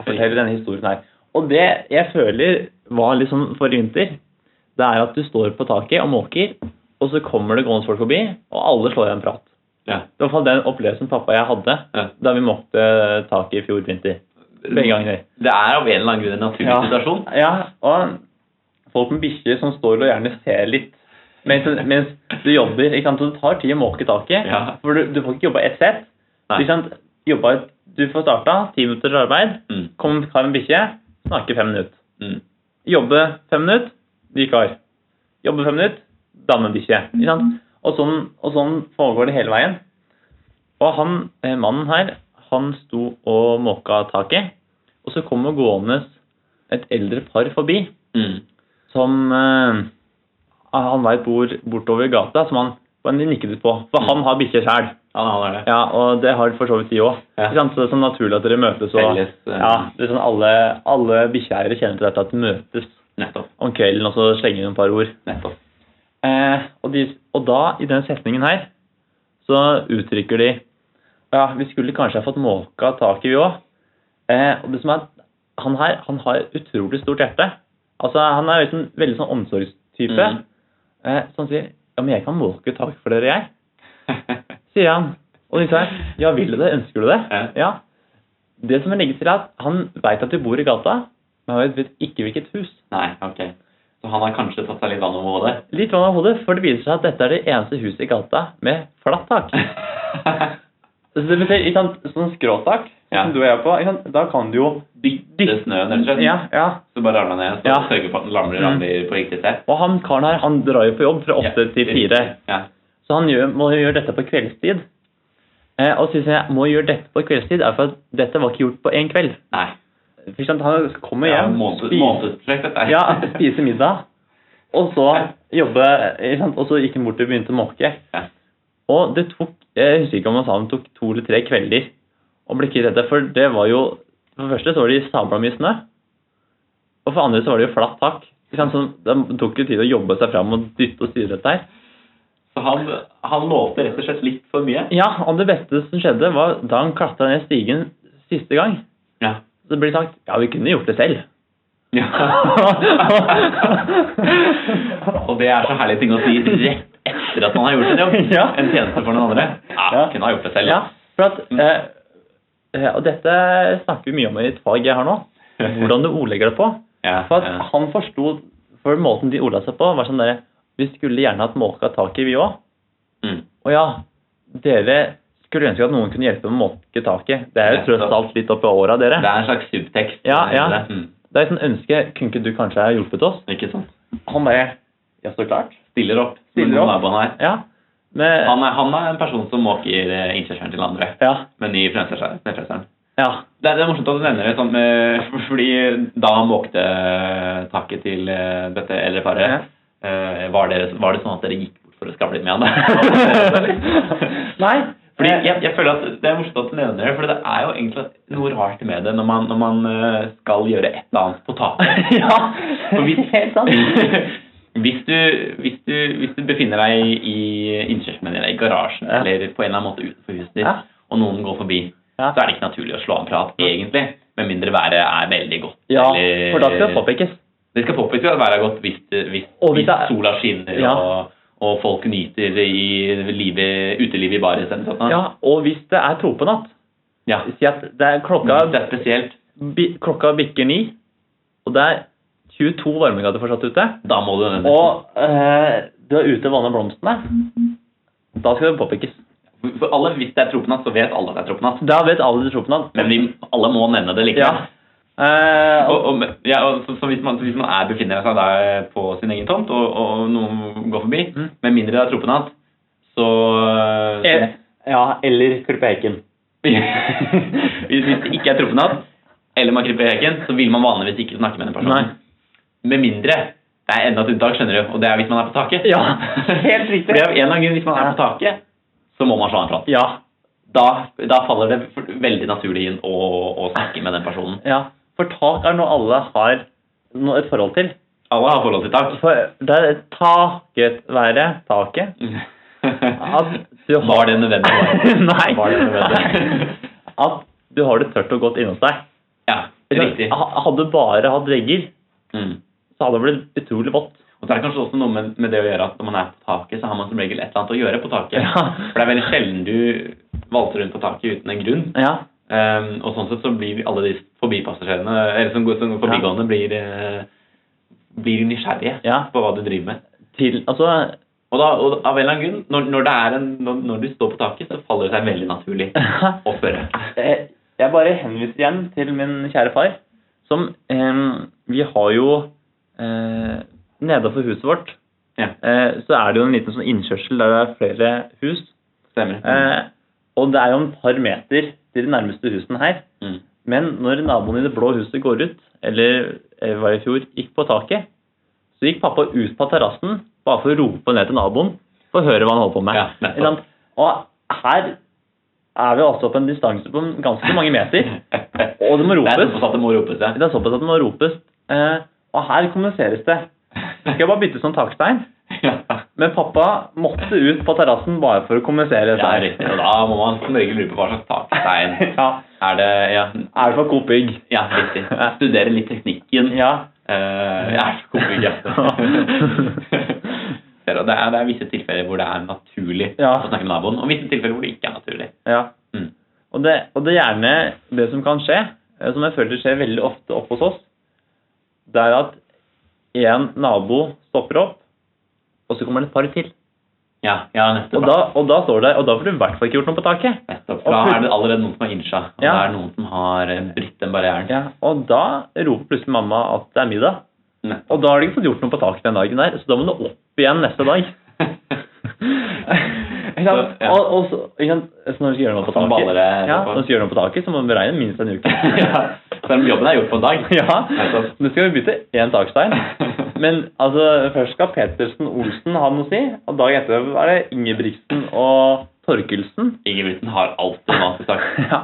Speaker 2: og forteller denne historien her. Og det jeg føler var liksom forrige vinter, det er at du står på taket og måker, og så kommer det gående folk forbi, og alle slår i en prat.
Speaker 3: Ja.
Speaker 2: Det var i hvert fall den opplevelsen pappa og jeg hadde
Speaker 3: Ja.
Speaker 2: da vi måkte taket i fjor vinter. Begge ganger.
Speaker 3: Det er av en eller annen grunn en naturlig situasjon.
Speaker 2: Ja, og folk med bikkjer som står og gjerne ser litt mens, mens du jobber. ikke sant? Så det tar tid å måke taket.
Speaker 3: Ja.
Speaker 2: For du, du får ikke jobba ett sett.
Speaker 3: Nei.
Speaker 2: Ikke sant? Jobba, et- du får starta, ti minutters arbeid,
Speaker 3: Mm.
Speaker 2: kom en kar med bikkje, snakke fem minutter.
Speaker 3: Mm.
Speaker 2: Jobbe fem minutter, ny kar. Jobbe fem minutter, damebikkje. Ikke sant? Og sånn, og sånn foregår det hele veien. Og han, eh, mannen her, han sto og måka taket, og så kom det gående et eldre par forbi,
Speaker 3: Mm.
Speaker 2: som eh, ah, han veit bor bortover gata, som han han nikket ut på. For
Speaker 3: Mm.
Speaker 2: han har bikkje sjæl,
Speaker 3: Ja, han er det.
Speaker 2: ja, og det har for så vidt de òg.
Speaker 3: Ja.
Speaker 2: Så det er sånn naturlig at dere møtes. Og,
Speaker 3: Felles eh,
Speaker 2: ja, det er sånn alle, alle bikkjeeiere kjenner til dette at de møtes
Speaker 3: Nettopp.
Speaker 2: om kvelden og så slenge inn et par ord.
Speaker 3: Nettopp.
Speaker 2: Eh, og, de, og da, i den setningen her, så uttrykker de Ja, vi skulle kanskje ha fått måka taket, vi òg. Eh, og det som er at han her han har et utrolig stort hjerte. Altså, Han er liksom, veldig sånn omsorgstype.
Speaker 3: Mhm.
Speaker 2: Eh, så han sier ja, men jeg kan måke taket for dere, jeg. Sier han. Og de sier ja, vil du det? Ønsker du det?
Speaker 3: Ja.
Speaker 2: Ja. Det som er legget til, er at han veit at du bor i gata, men han vet ikke hvilket hus.
Speaker 3: Nei, ok. Så han har kanskje tatt seg litt vann over hodet?
Speaker 2: Litt vann av hodet, for det viser seg at dette er det eneste huset i gata med flatt tak. Så det betyr, ikke sant, sånn skråtak
Speaker 3: Ja.
Speaker 2: som du og jeg er på, ikke sant, da kan du jo
Speaker 3: Dytte snøen, rett og slett?
Speaker 2: Ja, ja.
Speaker 3: Så bare ramler ned, så
Speaker 2: Ja.
Speaker 3: sørger for at den ramler,
Speaker 2: Mm.
Speaker 3: ramler på riktig sted?
Speaker 2: Og han karen her, han drar jo på jobb fra åtte
Speaker 3: Ja.
Speaker 2: til fire.
Speaker 3: Ja.
Speaker 2: Så han gjør, må jo gjøre dette på kveldstid. Eh, og synes jeg må gjøre dette på kveldstid, er for at dette var ikke gjort på én kveld.
Speaker 3: Nei.
Speaker 2: For sant, han kommer
Speaker 3: Ja,
Speaker 2: hjem,
Speaker 3: måned-
Speaker 2: spiser-
Speaker 3: Månedsprosjekt, dette er.
Speaker 2: ja, spise middag, og så jobbe, ikke sant, og så gikk han bort og begynte å måke.
Speaker 3: Ja.
Speaker 2: Og det tok, jeg husker ikke om han sa det tok to eller tre kvelder å bli kvitt dette, for det var jo, for det første så var det sabla mye snø, og for det andre så var det jo flatt tak. Ikke sant, så det tok jo tid å jobbe seg fram og dytte og styre dette her.
Speaker 3: Så han, han lovte rett og slett litt for mye?
Speaker 2: Ja, og det beste som skjedde var da han klatra ned stigen siste gang,
Speaker 3: Ja.
Speaker 2: så ble det sagt ja, vi kunne gjort det selv.
Speaker 3: ja. Og det er så herlige ting å si rett etter at man har gjort sin jobb.
Speaker 2: Ja.
Speaker 3: En tjeneste for noen andre. Ja,
Speaker 2: Ja.
Speaker 3: kunne ha gjort det selv.
Speaker 2: Ja, for at eh, eh, Og dette snakker vi mye om i et fag jeg har nå, hvordan du ordlegger det på.
Speaker 3: Ja,
Speaker 2: For at
Speaker 3: ja.
Speaker 2: han forsto For måten de ordla seg på, var sånn derre Vi skulle gjerne hatt måka tak i, vi òg.
Speaker 3: Mm.
Speaker 2: Og ja, dere skulle ønske at noen kunne hjelpe med å måke taket. Det er jo
Speaker 3: Nettopp.
Speaker 2: tross alt litt oppi åra, dere.
Speaker 3: Det er en slags subtekst.
Speaker 2: Ja, ja.
Speaker 3: Det er- Mm.
Speaker 2: Det er et sånt ønske Kunne ikke du kanskje ha hjulpet oss?
Speaker 3: Ikke sant.
Speaker 2: Han bare Ja, så klart.
Speaker 3: Stiller opp. som
Speaker 2: Stiller
Speaker 3: noen
Speaker 2: opp.
Speaker 3: naboen her.
Speaker 2: Ja. Men,
Speaker 3: Han er, han er en person som måker eh, innkjørselen til andre.
Speaker 2: ja.
Speaker 3: Men i Frelseseren.
Speaker 2: Ja.
Speaker 3: Det, er- det er morsomt at du nevner det, sånn, eh, fordi da han måkte taket til eh, dette eldre paret,
Speaker 2: Ja.
Speaker 3: eh, var, det, var det sånn at dere gikk bort for å skravle litt med han?
Speaker 2: Nei.
Speaker 3: Fordi
Speaker 2: eh,
Speaker 3: jeg, jeg føler at Det er morsomt at du nevner det, for det er jo egentlig noe rart med det når man, når man eh, skal gjøre et eller annet på taket.
Speaker 2: Ja.
Speaker 3: For hvis-
Speaker 2: Helt sant.
Speaker 3: Hvis du, hvis, du, hvis du befinner deg i innkjørselen eller i garasjen
Speaker 2: Ja.
Speaker 3: eller på en eller annen måte utenfor huset ditt,
Speaker 2: Ja.
Speaker 3: og noen går forbi,
Speaker 2: Ja.
Speaker 3: så er det ikke naturlig å slå av en prat, egentlig. Med mindre været er veldig godt.
Speaker 2: Ja,
Speaker 3: eller-
Speaker 2: for da skal det påpekes.
Speaker 3: Det skal påpekes at været er godt hvis, hvis,
Speaker 2: Og hvis
Speaker 3: hvis
Speaker 2: det er-
Speaker 3: sola skinner
Speaker 2: Ja.
Speaker 3: og, og folk nyter i livet, utelivet i bar isteden. Sånn.
Speaker 2: Ja, og hvis det er tropenatt,
Speaker 3: Ja.
Speaker 2: si at det er klokka,
Speaker 3: Det er spesielt.
Speaker 2: bi, klokka bikker ni, og det er 22 varmegrader fortsatt ute,
Speaker 3: Da må du nødvendigvis
Speaker 2: og eh, du er ute og vanner blomstene, da skal det påpekes.
Speaker 3: For alle, Hvis det er tropenatt, så vet alle at det er tropenatt.
Speaker 2: Da vet alle det er tropenatt.
Speaker 3: Men vi, alle må nevne det
Speaker 2: Ja.
Speaker 3: likevel.
Speaker 2: Eh,
Speaker 3: Og,
Speaker 2: og,
Speaker 3: og, ja, og, så, så, hvis man, så hvis man er, befinner seg der på sin egen tomt, og, og noen går forbi,
Speaker 2: Mm.
Speaker 3: med mindre det er tropenatt, så
Speaker 2: eh, ja, eller klippe hekken.
Speaker 3: hvis, hvis det ikke er tropenatt, eller man kryper i hekken, så vil man vanligvis ikke snakke med den personen.
Speaker 2: Nei.
Speaker 3: Med mindre det er enda et unntak, skjønner du, og det er hvis man er på taket.
Speaker 2: Ja, helt riktig.
Speaker 3: Fordi av en eller annen grunn, hvis man er på taket, så må man slå en prat.
Speaker 2: Ja,
Speaker 3: Da, da faller det f- veldig naturlig inn å, å snakke med den personen.
Speaker 2: ja. For tak er noe alle har noe, et forhold til.
Speaker 3: Alle har forhold til tak.
Speaker 2: For det er taket været, taket, At du har-
Speaker 3: Var det nødvendig?
Speaker 2: Nei.
Speaker 3: Var det nødvendig?
Speaker 2: at du har det tørt og godt innom deg.
Speaker 3: ja, riktig.
Speaker 2: Ha- Hadde du bare hatt regger,
Speaker 3: Mm.
Speaker 2: så hadde det blitt utrolig vått.
Speaker 3: Og så er det kanskje også noe med, med det å gjøre at når man er på taket, så har man som regel et eller annet å gjøre på taket.
Speaker 2: Ja.
Speaker 3: For det er veldig sjelden du valter rundt på taket uten en grunn.
Speaker 2: Ja.
Speaker 3: Ehm, og sånn sett så blir alle de forbipassasjerene, eller som, går- som går forbigående, blir, eh, blir nysgjerrige
Speaker 2: ja.
Speaker 3: på hva du driver med.
Speaker 2: Til, altså,
Speaker 3: Og, da, og av en eller annen grunn, når, når, det er en, når, når du står på taket, så faller det seg veldig naturlig å spørre.
Speaker 2: eh, jeg bare henviser igjen til min kjære far, som eh, Vi har jo eh, Nedenfor huset vårt
Speaker 3: Ja.
Speaker 2: eh, så er det jo en liten sånn innkjørsel der det er flere hus.
Speaker 3: Stemmer.
Speaker 2: Eh, og det er jo en par meter til de nærmeste husene her.
Speaker 3: Mm.
Speaker 2: Men når naboen i det blå huset går ut, eller eh, hva i fjor, gikk på taket, så gikk pappa ut på terrassen bare for å rope ned til naboen for å høre hva han holdt på med.
Speaker 3: Ja, nettopp.
Speaker 2: Ikke sant? og her er vi altså på en distanse på ganske mange meter. Og det må
Speaker 3: Det er
Speaker 2: ropes.
Speaker 3: såpass at det må ropes, ja.
Speaker 2: Det er såpass at det må ropes. Eh, og her kommuniseres det. Skal jeg bare bytte sånn takstein?
Speaker 3: ja.
Speaker 2: Men pappa måtte ut på terrassen bare for å kommunisere
Speaker 3: Ja,
Speaker 2: dette. her.
Speaker 3: riktig. Og da må man som regel lure på hva slags takstein
Speaker 2: ja.
Speaker 3: er det ja,
Speaker 2: Er det for Coop Bygg?
Speaker 3: ja, riktig. Studere litt teknikken.
Speaker 2: Ja.
Speaker 3: Eh, ja, kombing, ja. Ser du, det, er, det er visse tilfeller hvor det er naturlig
Speaker 2: Ja.
Speaker 3: å snakke med naboen, og visse tilfeller hvor det ikke er naturlig.
Speaker 2: ja.
Speaker 3: Mm.
Speaker 2: Og det, og det er gjerne det som kan skje, eh, som jeg føler skjer veldig ofte oppe hos oss, det er at én nabo stopper opp, og så kommer det et par til.
Speaker 3: Ja, ja nettopp.
Speaker 2: Og da, og da står du der, og da får du i hvert fall ikke gjort noe på taket.
Speaker 3: nettopp. For da er det allerede noen som har innsja. Og
Speaker 2: Ja.
Speaker 3: da er det noen som har eh, brytt den barrieren.
Speaker 2: Ja, og da roper plutselig mamma at det er middag.
Speaker 3: Nettopp.
Speaker 2: Og da har du ikke fått gjort noe på taket den dagen der, så da må du opp igjen neste dag. Ikke sant?
Speaker 3: Så, ja.
Speaker 2: Og, og så, ikke sant? så når du skal gjøre noe på
Speaker 3: Så baller
Speaker 2: taket,
Speaker 3: det
Speaker 2: ja,
Speaker 3: etterpå.
Speaker 2: når du skal gjøre noe på taket, så må du beregne minst en uke.
Speaker 3: ja. Selv om jobben er gjort på en dag.
Speaker 2: Ja,
Speaker 3: Nettopp.
Speaker 2: nå skal vi bytte én takstein. Men altså, først skal Petersen Olsen ha noe å si, og dagen etter er det Ingebrigtsen og Torkelsen.
Speaker 3: Ingebrigtsen har alltid noe annet å si.
Speaker 2: Ja,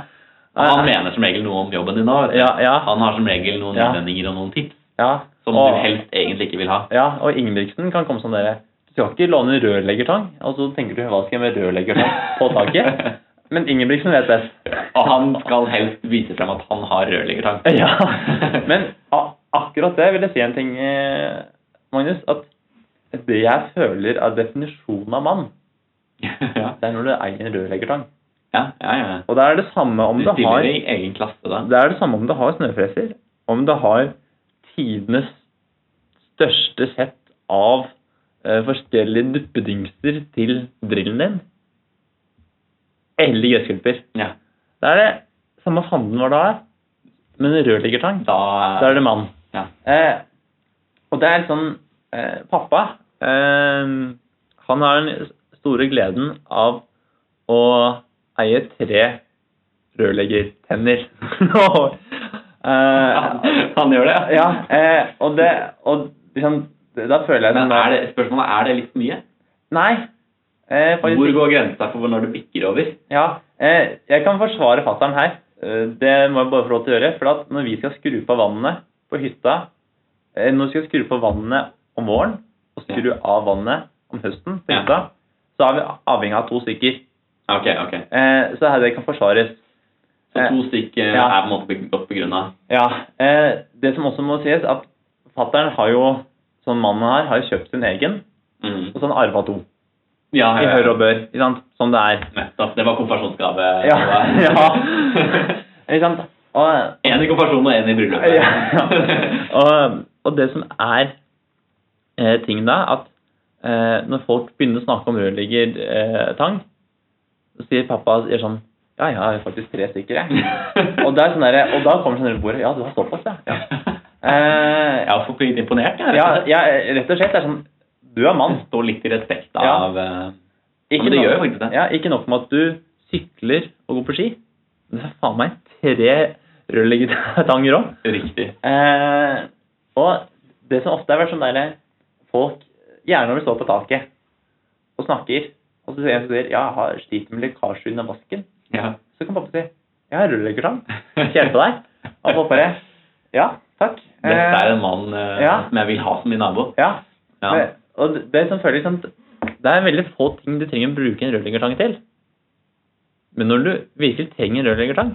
Speaker 3: Han mener som regel noe om jobben din òg.
Speaker 2: Eh, ja, ja,
Speaker 3: Han har som regel noen
Speaker 2: Ja.
Speaker 3: innvendinger og noen tips
Speaker 2: ja.
Speaker 3: som
Speaker 2: og,
Speaker 3: du helst egentlig ikke vil ha.
Speaker 2: Ja, og Ingebrigtsen kan komme sånn dere Du skal ikke låne rørleggertang, og så tenker du hva skal jeg med rørleggertang på taket? Men Ingebrigtsen vet best.
Speaker 3: Og han skal helst vise frem at han har rørleggertang.
Speaker 2: Ja, men a akkurat det vil jeg si en ting, eh, Magnus, at det jeg føler er definisjonen av mann,
Speaker 3: ja.
Speaker 2: det er når du eier en rørleggertang.
Speaker 3: Ja, ja, ja.
Speaker 2: Og det er det samme om
Speaker 3: Du
Speaker 2: du har
Speaker 3: stiller i egen klasse da.
Speaker 2: Det er det samme om du har snøfreser, om du har tidenes største sett av eh, forskjellige duppedingser til drillen din. Eller gressklipper.
Speaker 3: Ja.
Speaker 2: Det er det samme fanden hva det er, men rørleggertang.
Speaker 3: Da
Speaker 2: Da er det mann.
Speaker 3: Ja.
Speaker 2: Eh, og det er sånn eh, Pappa, eh, han har den store gleden av å eie tre rørleggertenner. eh,
Speaker 3: Han gjør det,
Speaker 2: ja, eh, og det og liksom, Da føler jeg
Speaker 3: Men
Speaker 2: sånn-
Speaker 3: er det, spørsmålet er, er det litt mye?
Speaker 2: Nei. Eh, faktisk
Speaker 3: Hvor går grensa for når du bikker over?
Speaker 2: Ja, eh, jeg kan forsvare fatteren her. Eh, det må jeg bare få lov til å gjøre. For at når vi skal skru på vannet på hytta eh, Når vi skal skru på vannet om våren og skru av vannet om høsten på
Speaker 3: Ja.
Speaker 2: hytta, så er vi avhengig av to stykker.
Speaker 3: Ja, Ok, ok.
Speaker 2: Eh, så her det kan forsvares.
Speaker 3: Så
Speaker 2: Eh,
Speaker 3: to stykk eh,
Speaker 2: ja.
Speaker 3: er på en måte be- godt begrunna.
Speaker 2: Ja, eh, Det som også må sies, at fattern har jo, som mannen her, har jo kjøpt sin egen,
Speaker 3: Mm.
Speaker 2: og så har han arva to.
Speaker 3: Ja,
Speaker 2: I
Speaker 3: ja,
Speaker 2: hør
Speaker 3: ja.
Speaker 2: og bør, ikke sant? som det er.
Speaker 3: Nettopp. Det var konfirmasjonsgave.
Speaker 2: Ja,
Speaker 3: Det var-
Speaker 2: Ikke sant? Og,
Speaker 3: en i konfirmasjonen og en i bryllupet.
Speaker 2: Ja. og, og det som er eh, ting da, at eh, når folk begynner å snakke om rørleggertang, så sier pappa gjør sånn Ja, jeg har faktisk tre stykker, jeg. Og, det er sånn der, og da kommer sånn rundt bordet Ja, du har såpass, ja. ja.
Speaker 3: Jeg
Speaker 2: Eh,
Speaker 3: har fått blitt imponert. Jeg,
Speaker 2: ja, ja. Rett og slett. Det er sånn Du er mann.
Speaker 3: Står litt i respekt
Speaker 2: Ja.
Speaker 3: av eh, Ja, men det
Speaker 2: nok-
Speaker 3: gjør jo faktisk det.
Speaker 2: Ja, ikke nok med at du sykler og går på ski. men Det er faen meg tre rørleggertanger òg.
Speaker 3: Riktig.
Speaker 2: Eh, og det som ofte har vært sånn der Folk, gjerne når de står på taket og snakker, og så sier jeg, så sier, jeg, ja, jeg har sliter med lekkasje under vasken,
Speaker 3: Ja.
Speaker 2: så kan pappa si jeg har rørleggertang, skal jeg hjelpe deg? Og pappa bare ja, takk.
Speaker 3: Dette er en mann eh,
Speaker 2: ja.
Speaker 3: som jeg vil ha som min nabo.
Speaker 2: ja.
Speaker 3: Ja.
Speaker 2: Det, og det- det som føler liksom, det er veldig få ting du trenger å bruke en rørleggertang til. Men når du virkelig trenger en rørleggertang,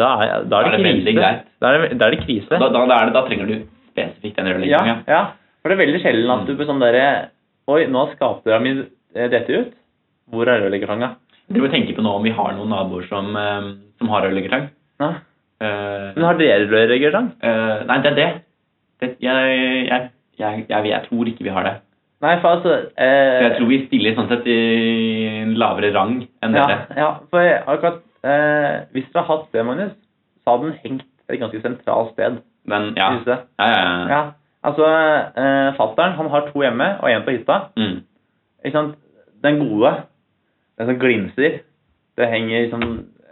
Speaker 2: da er, da er det,
Speaker 3: Da er det veldig
Speaker 2: krise.
Speaker 3: greit.
Speaker 2: Da er det, da er det krise.
Speaker 3: Da, da, da, er det, da trenger du spesifikt den Mm.
Speaker 2: Ja,
Speaker 3: rørleggeren.
Speaker 2: ja. For det er veldig sjelden at du blir sånn derre Oi, nå har skapdøra mi eh, dette ut. Hvor er rørleggertanga?
Speaker 3: Du må tenke på nå om vi har noen naboer som, eh, som har rørleggertang.
Speaker 2: Ja.
Speaker 3: Eh,
Speaker 2: Men har dere rørleggertang?
Speaker 3: eh, nei, det er det. det jeg, jeg, jeg, jeg, jeg tror ikke vi har det.
Speaker 2: Nei, for altså eh,
Speaker 3: Jeg tror vi stiller sånn sett i en lavere rang enn
Speaker 2: ja,
Speaker 3: dere.
Speaker 2: ja, for jeg- akkurat eh, Hvis dere har hatt det, Magnus, så hadde den hengt et ganske sentralt sted.
Speaker 3: Men ja.
Speaker 2: i huset.
Speaker 3: ja, ja, ja.
Speaker 2: ja. Altså, eh, fattern han har to hjemme og én på hytta.
Speaker 3: Mm.
Speaker 2: Ikke sant? Den gode, den som glinser, det henger liksom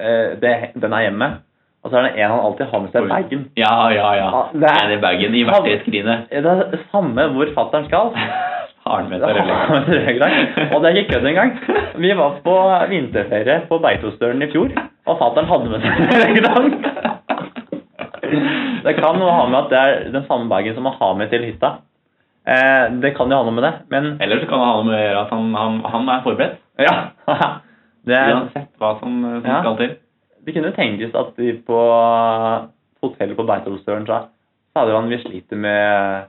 Speaker 2: eh, det, Den er hjemme. Og så er det en han alltid har med seg i bagen.
Speaker 3: ja, ja, ja.
Speaker 2: Ja, det er-
Speaker 3: En i bagen i verktøyskrinet.
Speaker 2: Det er det samme hvor fattern skal.
Speaker 3: Har den med seg rørleggeren.
Speaker 2: Rødgrang. Og det er ikke kødd engang. Vi var på vinterferie på Beitostølen i fjor, og fattern hadde med seg rødgrang. Det kan jo ha med at det er den samme bagen som man har med til hytta. Eh, det kan jo ha noe med det, men
Speaker 3: Eller så kan det ha noe med å gjøre at han, han, han er forberedt.
Speaker 2: ja. Det, er,
Speaker 3: Uansett hva som, eh, som
Speaker 2: Ja.
Speaker 3: skal til.
Speaker 2: det kunne tenkes at de på hotellet på Beitostølen sa Faderland, vi sliter med,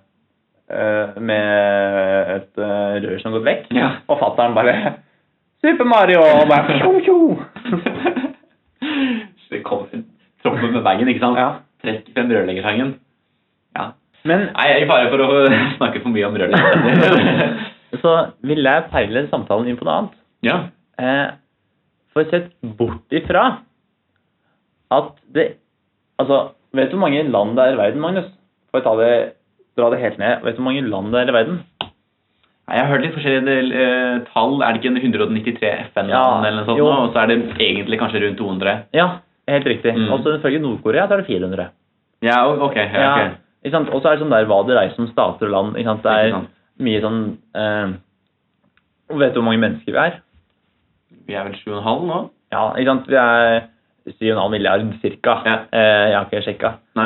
Speaker 2: eh, med et eh, rør som har gått vekk.
Speaker 3: Ja.
Speaker 2: Og fatteren bare Super Mario! Og bare tjo, tjo.
Speaker 3: troppen med bagen, ikke sant?
Speaker 2: Ja.
Speaker 3: Trekk frem rørleggersangen.
Speaker 2: Men
Speaker 3: Nei, jeg er i fare for å snakke for mye om rørleggere.
Speaker 2: så vil jeg perle samtalen inn på noe annet.
Speaker 3: ja.
Speaker 2: Eh, for sett bort ifra at det Altså, vet du hvor mange land det er i verden, Magnus? For å ta det, dra det helt ned. Vet du hvor mange land det er i verden?
Speaker 3: Nei, Jeg har hørt litt forskjellige del, eh, tall. Er det ikke en 193 FN-land
Speaker 2: Ja,
Speaker 3: eller noe sånt?
Speaker 2: jo.
Speaker 3: nå? Og så er det egentlig kanskje rundt 200?
Speaker 2: Ja, helt riktig.
Speaker 3: Mm.
Speaker 2: Også ifølge Nord-Korea så er det 400.
Speaker 3: Ja, o- ok. Ja,
Speaker 2: Ja,
Speaker 3: ok.
Speaker 2: ikke sant? Og så er det sånn der hva det reiser som stater og land. Ikke sant? Det
Speaker 3: Ikke
Speaker 2: er
Speaker 3: sant.
Speaker 2: mye sånn eh, Vet du hvor mange mennesker vi er?
Speaker 3: Vi er vel 7,5 nå?
Speaker 2: Ja, ikke sant? Vi er 7,5 milliard cirka.
Speaker 3: Ja.
Speaker 2: Eh, jeg har ikke sjekka.
Speaker 3: Nei.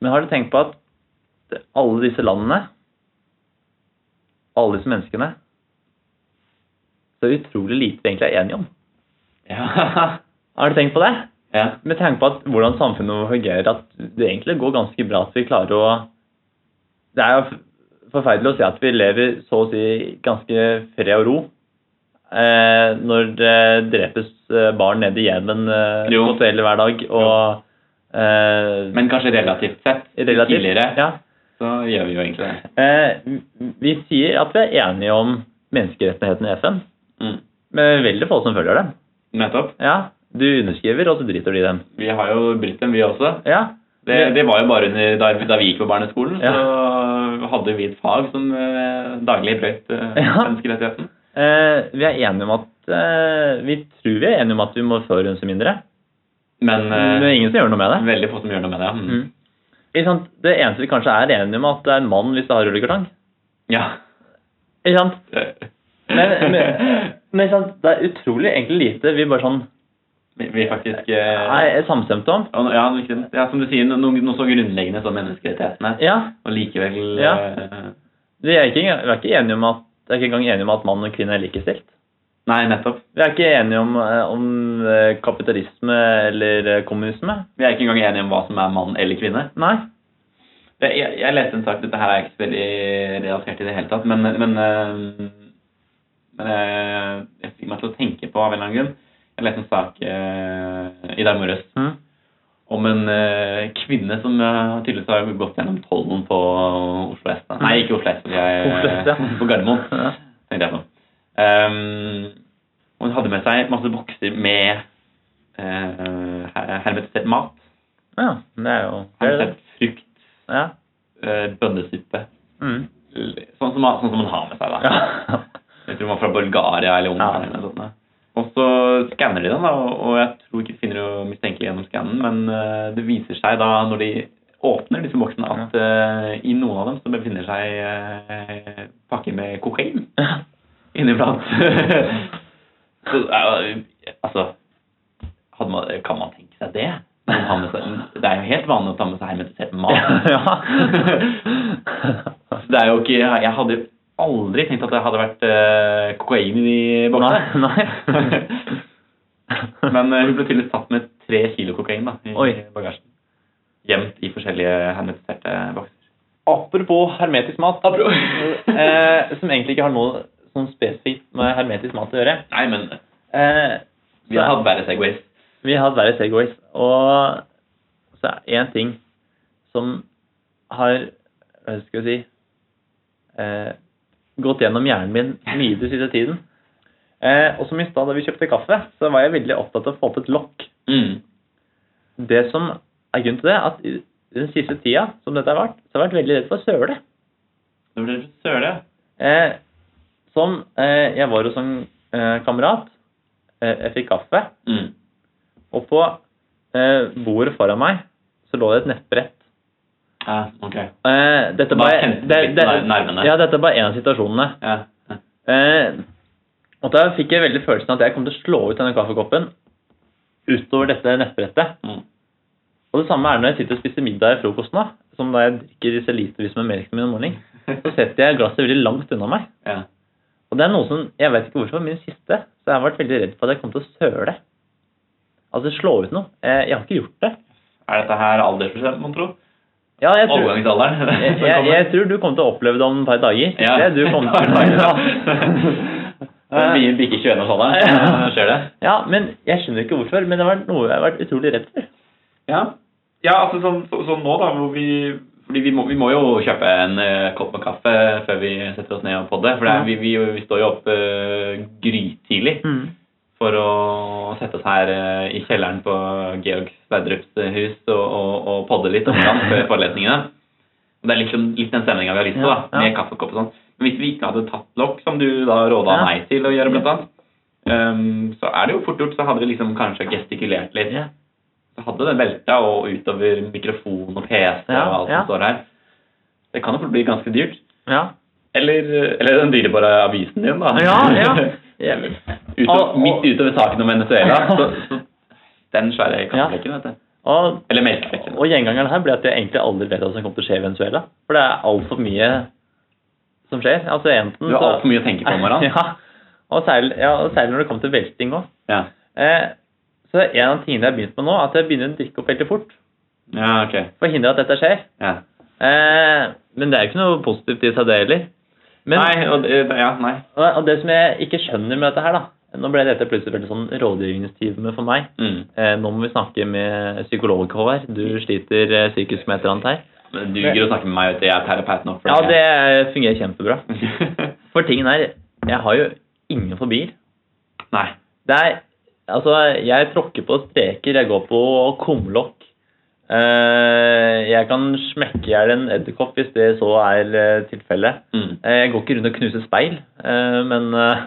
Speaker 2: Men har du tenkt på at alle disse landene, alle disse menneskene, så utrolig lite vi egentlig er enige om?
Speaker 3: Ja.
Speaker 2: Har du tenkt på det?
Speaker 3: ja.
Speaker 2: Med tanke på at hvordan samfunnet vårt fungerer, at det egentlig går ganske bra at vi klarer å Det er jo f- forferdelig å se at vi lever så å si ganske fred og ro eh, når det drepes eh, barn nede i Jemen eh,
Speaker 3: Jo.
Speaker 2: mot hele hver dag, og eh,
Speaker 3: Men kanskje relativt sett.
Speaker 2: relativt-
Speaker 3: Tidligere
Speaker 2: Ja.
Speaker 3: så gjør vi jo egentlig det.
Speaker 2: Eh, vi- vi sier at vi er enige om menneskerettighetene i FN,
Speaker 3: Mm.
Speaker 2: men veldig få som følger dem.
Speaker 3: Nettopp.
Speaker 2: Ja, Du underskriver, og så driter du i dem.
Speaker 3: Vi har jo brutt dem, vi også.
Speaker 2: Ja,
Speaker 3: Det, det var jo bare under, da, da vi gikk på barneskolen,
Speaker 2: Ja.
Speaker 3: så hadde vi et fag som eh, daglig brøt eh,
Speaker 2: Ja.
Speaker 3: menneskerettigheten.
Speaker 2: eh, Vi er enige om at eh, Vi tror vi er enige om at vi må forurense mindre,
Speaker 3: Men
Speaker 2: men det
Speaker 3: eh,
Speaker 2: er ingen som gjør noe med det.
Speaker 3: veldig få som gjør noe med det. Mm.
Speaker 2: Mm. Ikke sant? Det eneste vi kanskje er enige om, er at det er en mann hvis det har rullekartong.
Speaker 3: Ja.
Speaker 2: Ikke sant? Men, men, men ikke sant? det er utrolig egentlig lite vi bare sånn
Speaker 3: Vi- vi faktisk eh,
Speaker 2: er er samstemte om.
Speaker 3: og, ja, ikke sant? ja, som du sier, no- noe, noe så grunnleggende som menneskerettighetene.
Speaker 2: Ja,
Speaker 3: Og likevel
Speaker 2: Ja.
Speaker 3: eh,
Speaker 2: Vi er ikke, vi er ikke enige om at vi er ikke engang enige om at mann og kvinne er likestilt.
Speaker 3: Nei, nettopp.
Speaker 2: Vi er ikke enige om, eh, om eh, kapitalisme eller eh, kommunisme.
Speaker 3: Vi er ikke engang enige om hva som er mann eller kvinne.
Speaker 2: Nei.
Speaker 3: Jeg, jeg, jeg leste en sak Dette her er ikke så veldig relatert i det hele tatt, men, men, eh, men eh, jeg fikk meg til å tenke på av en eller annen grunn. Jeg leste en sak eh, i dag morges
Speaker 2: Mm.
Speaker 3: om en eh, kvinne som eh, tydeligvis har gått gjennom tollen på Oslo S. da. Nei,
Speaker 2: Mm.
Speaker 3: ikke Oslo S, men jeg-
Speaker 2: Oslo S, ja.
Speaker 3: på Gardermoen.
Speaker 2: Ja.
Speaker 3: tenkte jeg på. Ehm, og hun hadde med seg masse bokser med eh, her- hermetisert mat.
Speaker 2: Ja, det er jo det er det.
Speaker 3: Hermetisert frukt,
Speaker 2: Ja.
Speaker 3: eh, bønnesuppe.
Speaker 2: Mm.
Speaker 3: Sånn som, sånn som man har med seg, da.
Speaker 2: ja.
Speaker 3: Jeg tror man er fra Bulgaria eller Ungarn.
Speaker 2: Ja.
Speaker 3: eller noe sånt. da. Og så skanner de den, da, og- og jeg tror ikke de finner noe mistenkelig gjennom skannen, men eh, det viser seg da, når de åpner disse boksene, at eh, i noen av dem så befinner seg eh, pakker med kokain inniblant. så, eh, altså hadde man, Kan man tenke seg det? Man har med seg, det er jo helt vanlig å ta med seg hermetisert mat.
Speaker 2: ja.
Speaker 3: Så Det er jo ikke, jeg hadde jo aldri tenkt at det hadde vært eh, kokain i de
Speaker 2: Nei.
Speaker 3: boksene.
Speaker 2: nei.
Speaker 3: Men eh, hun ble tydeligvis tatt med tre kilo kokain da, i
Speaker 2: Oi.
Speaker 3: bagasjen. Gjemt i forskjellige hermetiserte bokser.
Speaker 2: Apropos hermetisk mat, eh, som egentlig ikke har noe sånn spesifikt med hermetisk mat å gjøre.
Speaker 3: Nei, men
Speaker 2: Eh,
Speaker 3: vi har hatt bare Segways.
Speaker 2: Vi har hatt verre Segways, og så er det én ting som har hva skal jeg si eh, gått gjennom hjernen min mye den siste tiden. Eh, og som i stad da vi kjøpte kaffe, så var jeg veldig opptatt av å få opp et lokk.
Speaker 3: Mm.
Speaker 2: Det som er grunnen til det, at i den siste tida som dette har vært, så har jeg vært veldig redd for søle.
Speaker 3: Da ble det søle.
Speaker 2: Eh, som eh, Jeg var hos en eh, kamerat. Eh, jeg fikk kaffe.
Speaker 3: Mm.
Speaker 2: Og på eh, bordet foran meg så lå det et nettbrett.
Speaker 3: Ja, ok.
Speaker 2: Eh, dette
Speaker 3: Da
Speaker 2: var,
Speaker 3: kjente du
Speaker 2: det,
Speaker 3: litt
Speaker 2: det,
Speaker 3: nervene.
Speaker 2: ja, dette var en av situasjonene.
Speaker 3: Ja. ja.
Speaker 2: Eh, og da fikk jeg veldig følelsen at jeg kom til å slå ut denne kaffekoppen utover dette nettbrettet.
Speaker 3: Mm.
Speaker 2: Og det samme er når jeg sitter og spiser middag i frokosten, da, som da jeg drikker disse litervis med melken min om morgenen. Så setter jeg glasset veldig langt unna meg.
Speaker 3: ja.
Speaker 2: Og det er noe som, jeg vet ikke hvorfor, min siste, så jeg har vært veldig redd for at jeg kom til å søle. Altså slå ut noe. Eh, jeg har ikke gjort det.
Speaker 3: Er dette her aldersbestemt, man tror?
Speaker 2: Ja, jeg tror,
Speaker 3: Overgangsalderen?
Speaker 2: jeg,
Speaker 3: som
Speaker 2: jeg,
Speaker 3: kommer.
Speaker 2: jeg tror du kommer til å oppleve det om et par dager.
Speaker 3: Ja.
Speaker 2: Det du kommer til å
Speaker 3: Det er mye bikker 21 årsalderen. Skjer det?
Speaker 2: Ja, men jeg skjønner ikke hvorfor, men det har vært noe jeg har vært utrolig redd for.
Speaker 3: Ja.
Speaker 4: Ja, altså sånn, så, sånn nå, da, hvor vi
Speaker 3: Fordi vi må, vi må jo kjøpe en eh, kopp med kaffe før vi setter oss ned og podde. For det er, vi, vi, vi står jo opp eh, grytidlig for å sette oss her eh, i kjelleren på Georg Sverdrups eh, hus og, og, og podde litt om dagen før forelesningene. Og Det er liksom litt den stemninga vi har lyst på, da,
Speaker 2: Ja, ja.
Speaker 3: med kaffekopp og sånn. Men hvis vi ikke hadde tatt lokk, som du da råda
Speaker 2: Ja.
Speaker 3: meg til å gjøre, blant annet, ehm, så er det jo fort gjort. Så hadde vi liksom kanskje gestikulert litt.
Speaker 2: Ja.
Speaker 3: Så hadde det velta og utover mikrofon og PC
Speaker 2: Ja,
Speaker 3: og alt
Speaker 2: ja.
Speaker 3: som står her. Det kan jo fort bli ganske dyrt.
Speaker 2: Ja.
Speaker 3: Eller, eller den dyrebare avisen din, da.
Speaker 2: Ja, ja.
Speaker 3: Uto-
Speaker 2: Og- og-
Speaker 3: midt utover saken om Venezuela. Så, så den svære kaffeflekken, vet du.
Speaker 2: Og,
Speaker 3: Eller melkeflekken.
Speaker 2: og gjengangeren her ble at jeg egentlig aldri vet hva som kommer til å skje i Venezuela. For det er altfor mye som skjer. Altså enten
Speaker 3: Du har altfor mye å tenke på om morgenen.
Speaker 2: Ja. Og særlig, ja, og særlig når det kommer til velting òg.
Speaker 3: Ja.
Speaker 2: Eh, så det er en av tingene jeg har begynt med nå, at jeg begynner å drikke opp veldig fort.
Speaker 3: ja, ok.
Speaker 2: For å hindre at dette skjer.
Speaker 3: Ja.
Speaker 2: Eh, men det er jo ikke noe positivt i å ta det heller. Men,
Speaker 3: nei, og, det- ja, nei.
Speaker 2: og, og det som jeg ikke skjønner med dette her, da Nå ble dette plutselig veldig sånn rådgivningstime for meg.
Speaker 3: Mm.
Speaker 2: Eh, nå må vi snakke med psykolog, Håvard. Du sliter eh, psykisk med et eller annet her.
Speaker 3: Men du gidder å snakke med meg, vet du. Jeg er terapeut nå.
Speaker 2: Ja, det fungerer kjempebra.
Speaker 3: det
Speaker 2: For tingen er, jeg har jo ingen fobier.
Speaker 3: Nei.
Speaker 2: Det er Altså, jeg tråkker på streker, jeg går på kumlokk. Eh, jeg kan smekke i hjel en edderkopp hvis det så er eh, tilfellet.
Speaker 3: Mm.
Speaker 2: Eh, jeg går ikke rundt og knuser speil, eh, men eh,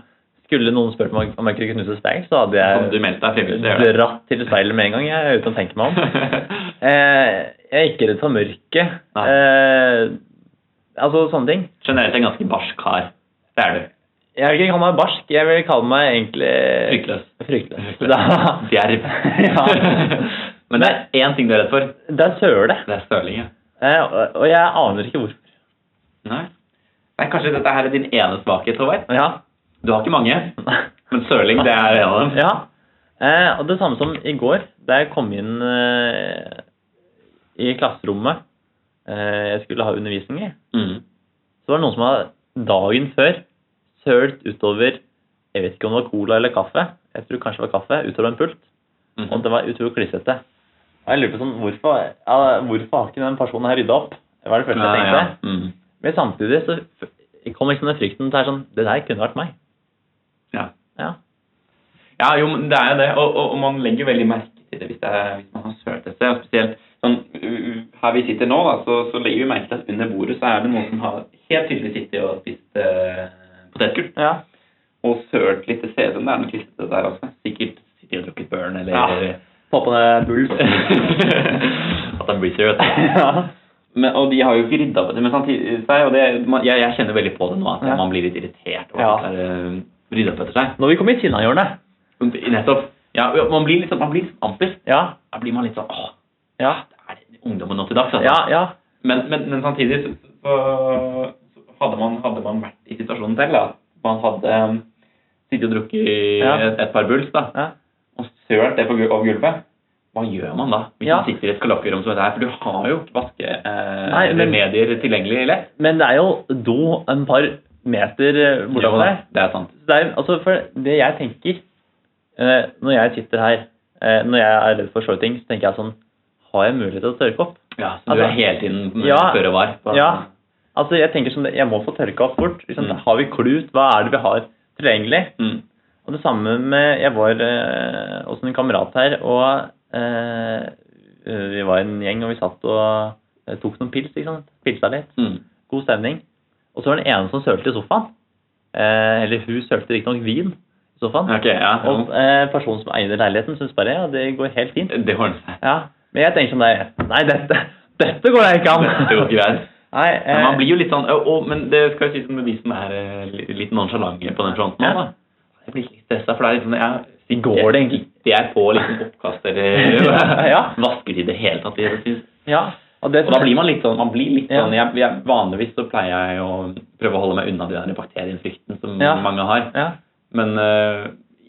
Speaker 2: skulle noen spurt meg om jeg kunne knuse speil, så hadde
Speaker 3: Som du
Speaker 2: jeg
Speaker 3: meldte deg frivillig til å gjøre.
Speaker 2: dratt til speilet med en gang, jeg, uten å tenke meg om. Eh, jeg er ikke redd for mørket.
Speaker 3: Nei.
Speaker 2: Eh, altså sånne ting.
Speaker 3: Generelt en ganske barsk kar. Det er du.
Speaker 2: Jeg vil ikke kalle meg barsk, jeg vil kalle meg egentlig
Speaker 3: Fryktløs.
Speaker 2: Fryktløs.
Speaker 3: Fryktløs.
Speaker 2: Da-
Speaker 3: Djerv.
Speaker 2: Ja.
Speaker 3: Men det er én ting du er redd for.
Speaker 2: Det er søle.
Speaker 3: Det er søling, ja.
Speaker 2: Eh, og- Og jeg aner ikke hvorfor.
Speaker 3: Nei. Nei, kanskje dette her er din ene svakhet, Håvard.
Speaker 2: Ja.
Speaker 3: Du har ikke mange, men søling det er en av dem.
Speaker 2: ja. Eh, og det samme som i går, da jeg kom inn eh, i klasserommet eh, jeg skulle ha undervisning i,
Speaker 3: Mm.
Speaker 2: så var det noen som hadde dagen før sølt utover Jeg vet ikke om det var cola eller kaffe. Jeg tror kanskje det var kaffe. Utover en pult.
Speaker 3: Mhm.
Speaker 2: Og det var utrolig klissete. Og jeg lurte på sånn, hvorfor, ja, hvorfor har ikke den personen her rydda opp? Det var det første jeg
Speaker 3: Ja,
Speaker 2: tenkte.
Speaker 3: ja. Mm.
Speaker 2: Men samtidig så f- kom liksom den frykten til å være sånn Det der kunne vært meg.
Speaker 3: Ja.
Speaker 2: Ja.
Speaker 3: ja, jo, men det er jo det. Og, og, og man legger veldig merke til det hvis, det er, hvis man har sølt et sted. Og spesielt sånn, uh, uh, her vi sitter nå, da, så, så legger vi merke til at under bordet så er det noen som har helt tydelig sittet og spist uh, potetgull.
Speaker 2: Ja.
Speaker 3: Og sølt litt til stedet. Det er noe klistret der også. Sikkert sittet og drukket børn eller
Speaker 2: Ja. Få på deg bull.
Speaker 3: At han blir seriøs.
Speaker 2: ja.
Speaker 3: Men, og de har jo ikke rydda på det. Men samtidig seg, og det, man, jeg, jeg kjenner veldig på det nå, at
Speaker 2: Ja.
Speaker 3: man blir litt irritert over
Speaker 2: Ja.
Speaker 3: at det er uh, rydda opp etter seg.
Speaker 2: Når vi kom i Kinnahjørnet.
Speaker 3: Nettopp. Ja, man blir litt sånn, man blir litt sånn amper.
Speaker 2: Ja.
Speaker 3: Da blir man litt sånn åh,
Speaker 2: Ja.
Speaker 3: det er ungdommen nå til dags. Altså.
Speaker 2: Ja. ja.
Speaker 3: Men, men, men samtidig så, så, så hadde, man, hadde man vært i situasjonen selv, da. Man hadde um, sittet og drukket
Speaker 2: Ja.
Speaker 3: et, et par bulls, da.
Speaker 2: Ja.
Speaker 3: Og sølt det på, gul- over gulvet. Hva gjør man da, hvis
Speaker 2: Ja.
Speaker 3: man sitter i et skalakkerom som dette her? For du har jo ikke vaskeremedier
Speaker 2: Nei,
Speaker 3: eh,
Speaker 2: men-
Speaker 3: remedier tilgjengelig lett.
Speaker 2: Men det er jo do en par meter eh, bortover
Speaker 3: Jo da,
Speaker 2: der.
Speaker 3: Det er sant.
Speaker 2: det er, altså, for det jeg tenker eh, når jeg sitter her, eh, når jeg er redd for sånne ting, så tenker jeg sånn Har jeg mulighet til å tørke opp?
Speaker 3: Ja, så du
Speaker 2: Altså-
Speaker 3: er hele tiden
Speaker 2: Ja.
Speaker 3: føre var. på-
Speaker 2: Ja. Altså, jeg tenker sånn Jeg må få tørka opp fort. Liksom,
Speaker 3: Mm.
Speaker 2: Har vi klut? Hva er det vi har tilgjengelig?
Speaker 3: Mm.
Speaker 2: Og det samme med Jeg var eh, hos en kamerat her, og eh, eh, vi var en gjeng, og vi satt og eh, tok noen pils, ikke sant. Pilsa litt.
Speaker 3: Mm.
Speaker 2: God stemning. Og så var det en som sølte i sofaen. Eh, eller hun sølte riktignok vin i sofaen.
Speaker 3: Ok, ja.
Speaker 2: Og eh, personen som eide leiligheten, syns bare ja, det går helt fint.
Speaker 3: Det ordner seg.
Speaker 2: Ja, Men jeg tenker som deg. Nei, dette, dette går da ikke an.
Speaker 3: Det går greit.
Speaker 2: Nei, eh,
Speaker 3: Men man blir jo litt sånn «Å, å, Men det skal jo sies med de som er eh, li- litt nonsjalante på den fronten.
Speaker 2: Ja.
Speaker 3: også, da. Jeg blir litt stressa, for det er liksom jeg,
Speaker 2: Går det egentlig?
Speaker 3: Sitter jeg på liksom oppkast eller
Speaker 2: Ja.
Speaker 3: vasker i det hele tatt? Jeg synes.
Speaker 2: Ja, og, det,
Speaker 3: Og da blir man litt sånn, man blir litt
Speaker 2: Ja.
Speaker 3: sånn jeg, jeg, Vanligvis så pleier jeg å prøve å holde meg unna den der bakteriefrykten som
Speaker 2: Ja.
Speaker 3: mange har.
Speaker 2: ja,
Speaker 3: Men eh,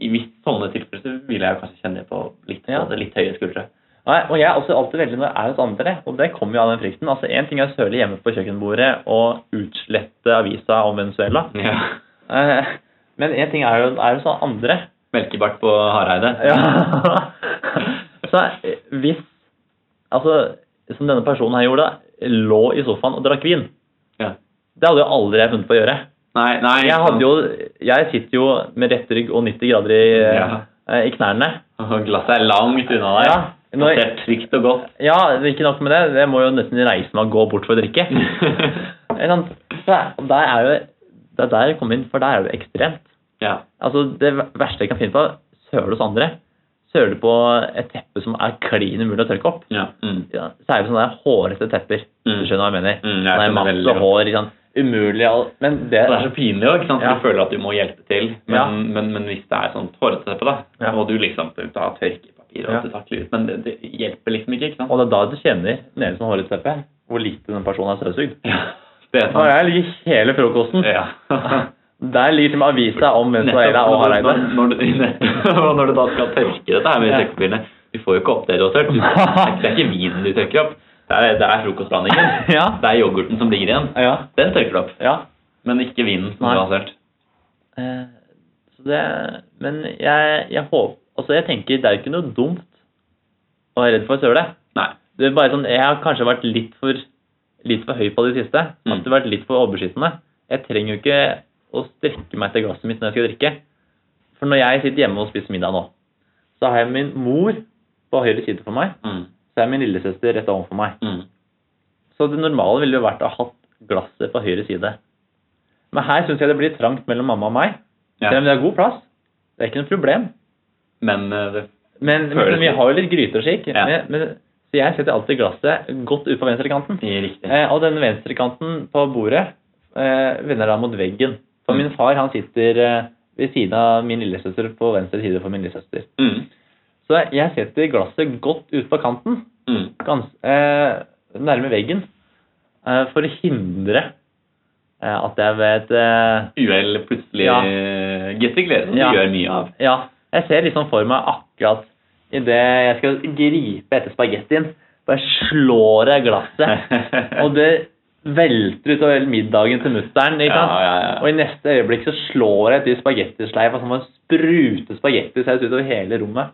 Speaker 3: i visst sånne tilfeller så vil jeg kanskje kjenne på litt, på
Speaker 2: Ja.
Speaker 3: det, litt høye skuldre.
Speaker 2: Nei, og jeg er også alltid veldig når jeg er hos andre, og det kommer jo av den frykten. Altså, Én ting er å søle hjemme på kjøkkenbordet og utslette avisa om Venezuela,
Speaker 3: Ja.
Speaker 2: eh, men én ting er jo er hos andre.
Speaker 3: Melkebart på Hareide.
Speaker 2: Ja. Så eh, hvis altså, som denne personen her gjorde, lå i sofaen og drakk vin.
Speaker 3: Ja.
Speaker 2: Det hadde jo aldri jeg funnet på å gjøre.
Speaker 3: Nei, nei
Speaker 2: Jeg, hadde jo, jeg sitter jo med rett rygg og 90 grader i,
Speaker 3: Ja.
Speaker 2: eh, i knærne.
Speaker 3: Glasset er langt unna deg.
Speaker 2: Ja, når,
Speaker 3: Det er trygt og godt.
Speaker 2: ja, ikke nok med det. Jeg må jo nesten reise meg og gå bort for å drikke. Ikke sant? Der der er jo Det er der jeg kommer inn, for der er det jo ekstremt.
Speaker 3: ja.
Speaker 2: Altså, Det verste jeg kan finne på, søle hos andre. Søle på et teppe som er klin umulig å tørke opp.
Speaker 3: ja. Mm.
Speaker 2: Ja, Særlig på sånne der hårete tepper.
Speaker 3: Mm.
Speaker 2: Du skjønner hva jeg mener.
Speaker 3: Mm,
Speaker 2: Det
Speaker 3: jeg
Speaker 2: er
Speaker 3: skjønner
Speaker 2: masse
Speaker 3: veldig godt.
Speaker 2: hår. Ikke sant? Umulig all... Men det
Speaker 3: Det er så pinlig òg, for
Speaker 2: Ja.
Speaker 3: du føler at du må hjelpe til. Men,
Speaker 2: Ja.
Speaker 3: men, men hvis det er sånt hårete teppe, da,
Speaker 2: Ja.
Speaker 3: må du liksom ta tørkepapir og
Speaker 2: Ja.
Speaker 3: du takler ut. Men det, det hjelper liksom ikke, ikke sant?
Speaker 2: Og det er da du kjenner nede som hårete teppe, hvor lite den personen er støvsugd.
Speaker 3: Ja. Det er
Speaker 2: Når
Speaker 3: sant.
Speaker 2: jeg ligger hele frokosten
Speaker 3: Ja.
Speaker 2: Der ligger til og med avisa om Venezuela og
Speaker 3: Nettopp, når,
Speaker 2: Hareide.
Speaker 3: når, når, du, nettopp, og når du da skal tørke dette her med
Speaker 2: Ja.
Speaker 3: tørkepapirene Du får jo ikke opp det du har tørt. Det er- det er ikke vinen du tørker opp. Det er, det er frokostblandingen.
Speaker 2: Ja.
Speaker 3: Det er yoghurten som ligger igjen.
Speaker 2: Ja.
Speaker 3: Den tørker du opp.
Speaker 2: ja.
Speaker 3: Men ikke vinen som
Speaker 2: Nei.
Speaker 3: du har tørt.
Speaker 2: Eh, Så det, men jeg, jeg håper Altså, jeg tenker det er ikke noe dumt å være redd for søle.
Speaker 3: Nei.
Speaker 2: Det er bare sånn, Jeg har kanskje vært litt for litt for høy på det siste.
Speaker 3: Mm.
Speaker 2: At det har vært litt for overbeskyttende. Jeg trenger jo ikke å strekke meg til glasset mitt når jeg skal drikke. For når jeg sitter hjemme og spiser middag nå, så har jeg min mor på høyre side for meg.
Speaker 3: Mm.
Speaker 2: Så er min lillesøster rett overfor meg.
Speaker 3: Mm.
Speaker 2: Så det normale ville jo vært å ha hatt glasset på høyre side. Men her syns jeg det blir trangt mellom mamma og meg.
Speaker 3: Ja.
Speaker 2: Selv om det er god plass. Det er ikke noe problem.
Speaker 3: Men eh, det
Speaker 2: Men, men
Speaker 3: Føles
Speaker 2: vi
Speaker 3: litt-
Speaker 2: har jo litt gryte og slik.
Speaker 3: Ja.
Speaker 2: Men, men, så jeg setter alltid glasset godt ut på venstrekanten.
Speaker 3: er riktig.
Speaker 2: Eh, og denne venstrekanten på bordet eh, vender da mot veggen. For
Speaker 3: Mm.
Speaker 2: min far han sitter eh, ved siden av min lillesøster på venstre side for min lillesøster.
Speaker 3: Mm.
Speaker 2: Så jeg setter glasset godt ut på kanten,
Speaker 3: Mm.
Speaker 2: gans, eh, nærme veggen, eh, for å hindre eh, at jeg vet eh,
Speaker 3: Uhell plutselig
Speaker 2: Ja.
Speaker 3: eh, gestikulerer, som
Speaker 2: Ja.
Speaker 3: du gjør mye av.
Speaker 2: Ja, jeg ser liksom for meg akkurat idet jeg skal gripe etter spagettien, bare slår jeg glasset, og det velter utover middagen til mutter'n. ikke sant?
Speaker 3: Ja, ja, ja.
Speaker 2: Og i neste øyeblikk så slår jeg til spagettisleiva som har sprutet spagettisaus utover hele rommet.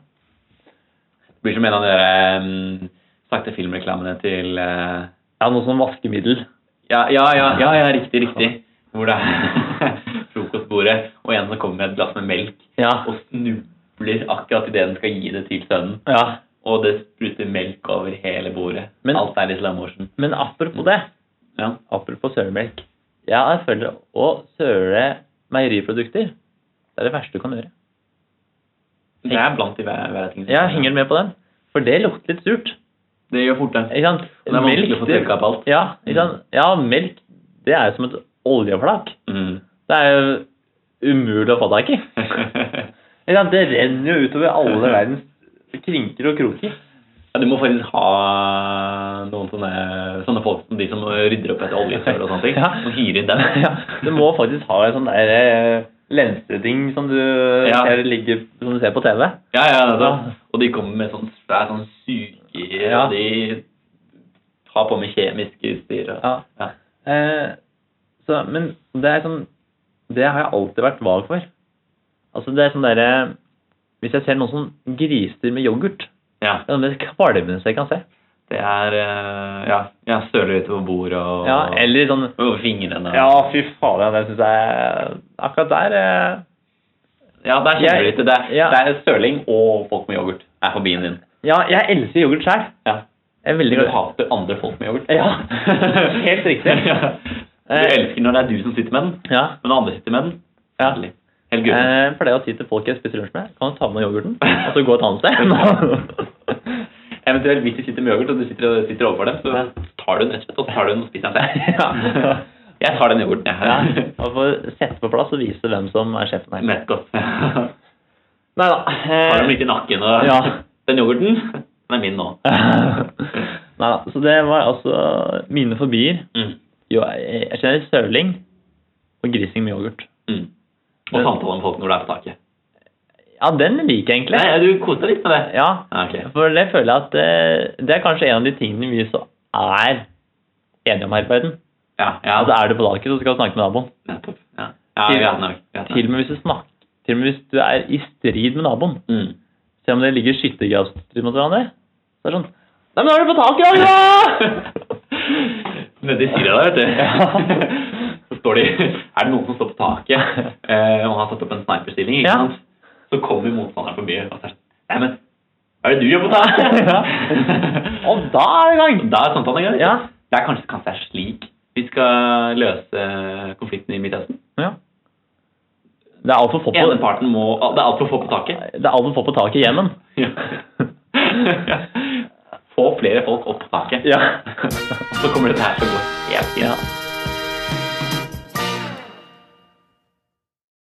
Speaker 3: Det blir som en av de der, um, sakte filmreklamene til eh,
Speaker 2: Ja, noe som vaskemiddel.
Speaker 3: ja, ja, ja, ja, ja, riktig, riktig. Hvor det er frokostbordet, og en som kommer med et glass med melk,
Speaker 2: Ja.
Speaker 3: og snubler akkurat idet den skal gi det til sønnen.
Speaker 2: ja.
Speaker 3: Og det spruter melk over hele bordet.
Speaker 2: Men-
Speaker 3: Alt er i slow motion.
Speaker 2: Men apropos det,
Speaker 3: Ja.
Speaker 2: apropos sølemelk Jeg føler å søle meieriprodukter det er det verste du kan gjøre.
Speaker 3: Det er blant de hver, hver ting.
Speaker 2: Jeg henger med på den, for det lukter litt surt.
Speaker 3: Det gjør fort det.
Speaker 2: Ikke sant?
Speaker 3: Det er vanskelig å få Mm.
Speaker 2: det-
Speaker 3: tørka opp alt.
Speaker 2: Ja, ikke sant? ja, melk det er jo som et oljeflak.
Speaker 3: Mm.
Speaker 2: Det er jo umulig å få tak i.
Speaker 3: ja,
Speaker 2: Ikke sant? Det renner jo utover alle verdens krinker og kroker.
Speaker 3: du må faktisk ha noen sånne, sånne folk som de som rydder opp etter oljesøl og sånne ting.
Speaker 2: Ja.
Speaker 3: Som hyrer inn dem.
Speaker 2: ja, du må faktisk ha en sånn der eh, lenseting som du,
Speaker 3: Ja.
Speaker 2: ser, ligger, som du ser på TV.
Speaker 3: Ja, ja, det er sant.
Speaker 2: Ja.
Speaker 3: Og de kommer med sånn svær sånn suger,
Speaker 2: Ja.
Speaker 3: og de har på med kjemisk utstyr. Og,
Speaker 2: Ja.
Speaker 3: Ja.
Speaker 2: Eh, så, men det er sånn Det har jeg alltid vært vag for. Altså, det er sånn derre Hvis jeg ser noen som griser med yoghurt,
Speaker 3: ja.
Speaker 2: det er sånn noe av det kvalmeste jeg kan se.
Speaker 3: Det er eh, Ja, ja søler utover bordet og
Speaker 2: Ja, eller sånn
Speaker 3: og over fingrene. og-
Speaker 2: Ja, fy fader, det syns jeg Akkurat der eh,
Speaker 3: ja, der kjenner du
Speaker 2: Jeg-
Speaker 3: litt det. er-
Speaker 2: ja.
Speaker 3: Det er søling og folk med yoghurt er hobbyien din.
Speaker 2: Ja, jeg elsker yoghurt sjøl.
Speaker 3: Ja.
Speaker 2: Jeg er veldig
Speaker 3: Du
Speaker 2: glad
Speaker 3: hater andre folk med yoghurt.
Speaker 2: Ja, helt riktig.
Speaker 3: Ja. Du elsker når det er du som sitter med den,
Speaker 2: Ja.
Speaker 3: men når andre sitter med den.
Speaker 2: Ja.
Speaker 3: herlig. Helt gud.
Speaker 2: Jeg pleier å si til folk jeg spiser lunsj med, kan du ta med yoghurten, og så gå et annet sted?
Speaker 3: Eventuelt hvis de sitter med yoghurt og du sitter, sitter overfor dem, så tar du den rett og slett, og så tar du den og spiser den selv.
Speaker 2: Ja.
Speaker 3: Jeg tar den yoghurten, jeg.
Speaker 2: Ja, og få sette på plass og vise hvem som er sjefen her.
Speaker 3: Nettopp. Har
Speaker 2: Nei da.
Speaker 3: den litt i nakken og
Speaker 2: eh. Ja.
Speaker 3: Den yoghurten, den er min nå.
Speaker 2: Nei da. Så det var altså mine fobier.
Speaker 3: Mm.
Speaker 2: Jo, jeg jeg kjenner søling og grising med yoghurt.
Speaker 3: Mm. Og samtale med folk når du er på taket.
Speaker 2: Ja, den liker jeg egentlig.
Speaker 3: Nei, du koser deg litt med det.
Speaker 2: Ja,
Speaker 3: Ja, ok.
Speaker 2: for det føler jeg at eh, det er kanskje en av de tingene vi så er enige om her i verden.
Speaker 3: Ja, ja.
Speaker 2: Altså, er du på taket, så skal du snakke med naboen.
Speaker 3: Nettopp. Ja, ja vi har den nok. vi har den nok.
Speaker 2: Til og med hvis du snakker, til og med hvis du er i strid med naboen.
Speaker 3: Mm.
Speaker 2: Selv om det ligger skyttergravstrider mot hverandre. Så er det sånn Nei, men da har du fått tak i Agda!
Speaker 3: Nede i Syria der, vet du. Så står de Er det noen som står på taket eh, og har satt opp en sniperstilling? Ikke
Speaker 2: Ja.
Speaker 3: sant? Så kommer motstanderen forbi og sier Nei, men hva er det du gjør på taket?
Speaker 2: Ja. Og da er det i gang!
Speaker 3: Da er samtalen i gang.
Speaker 2: Ja.
Speaker 3: Det er kanskje, kanskje det er slik vi skal løse eh, konflikten i Midtøsten.
Speaker 2: ja. Det er altfor få på,
Speaker 3: Ene parten må Det er altfor få på taket.
Speaker 2: det er alt for få på taket i Jemen.
Speaker 3: Ja. Få flere folk opp på taket.
Speaker 2: Ja.
Speaker 3: Så kommer dette her til å gå helt fint.
Speaker 2: ja.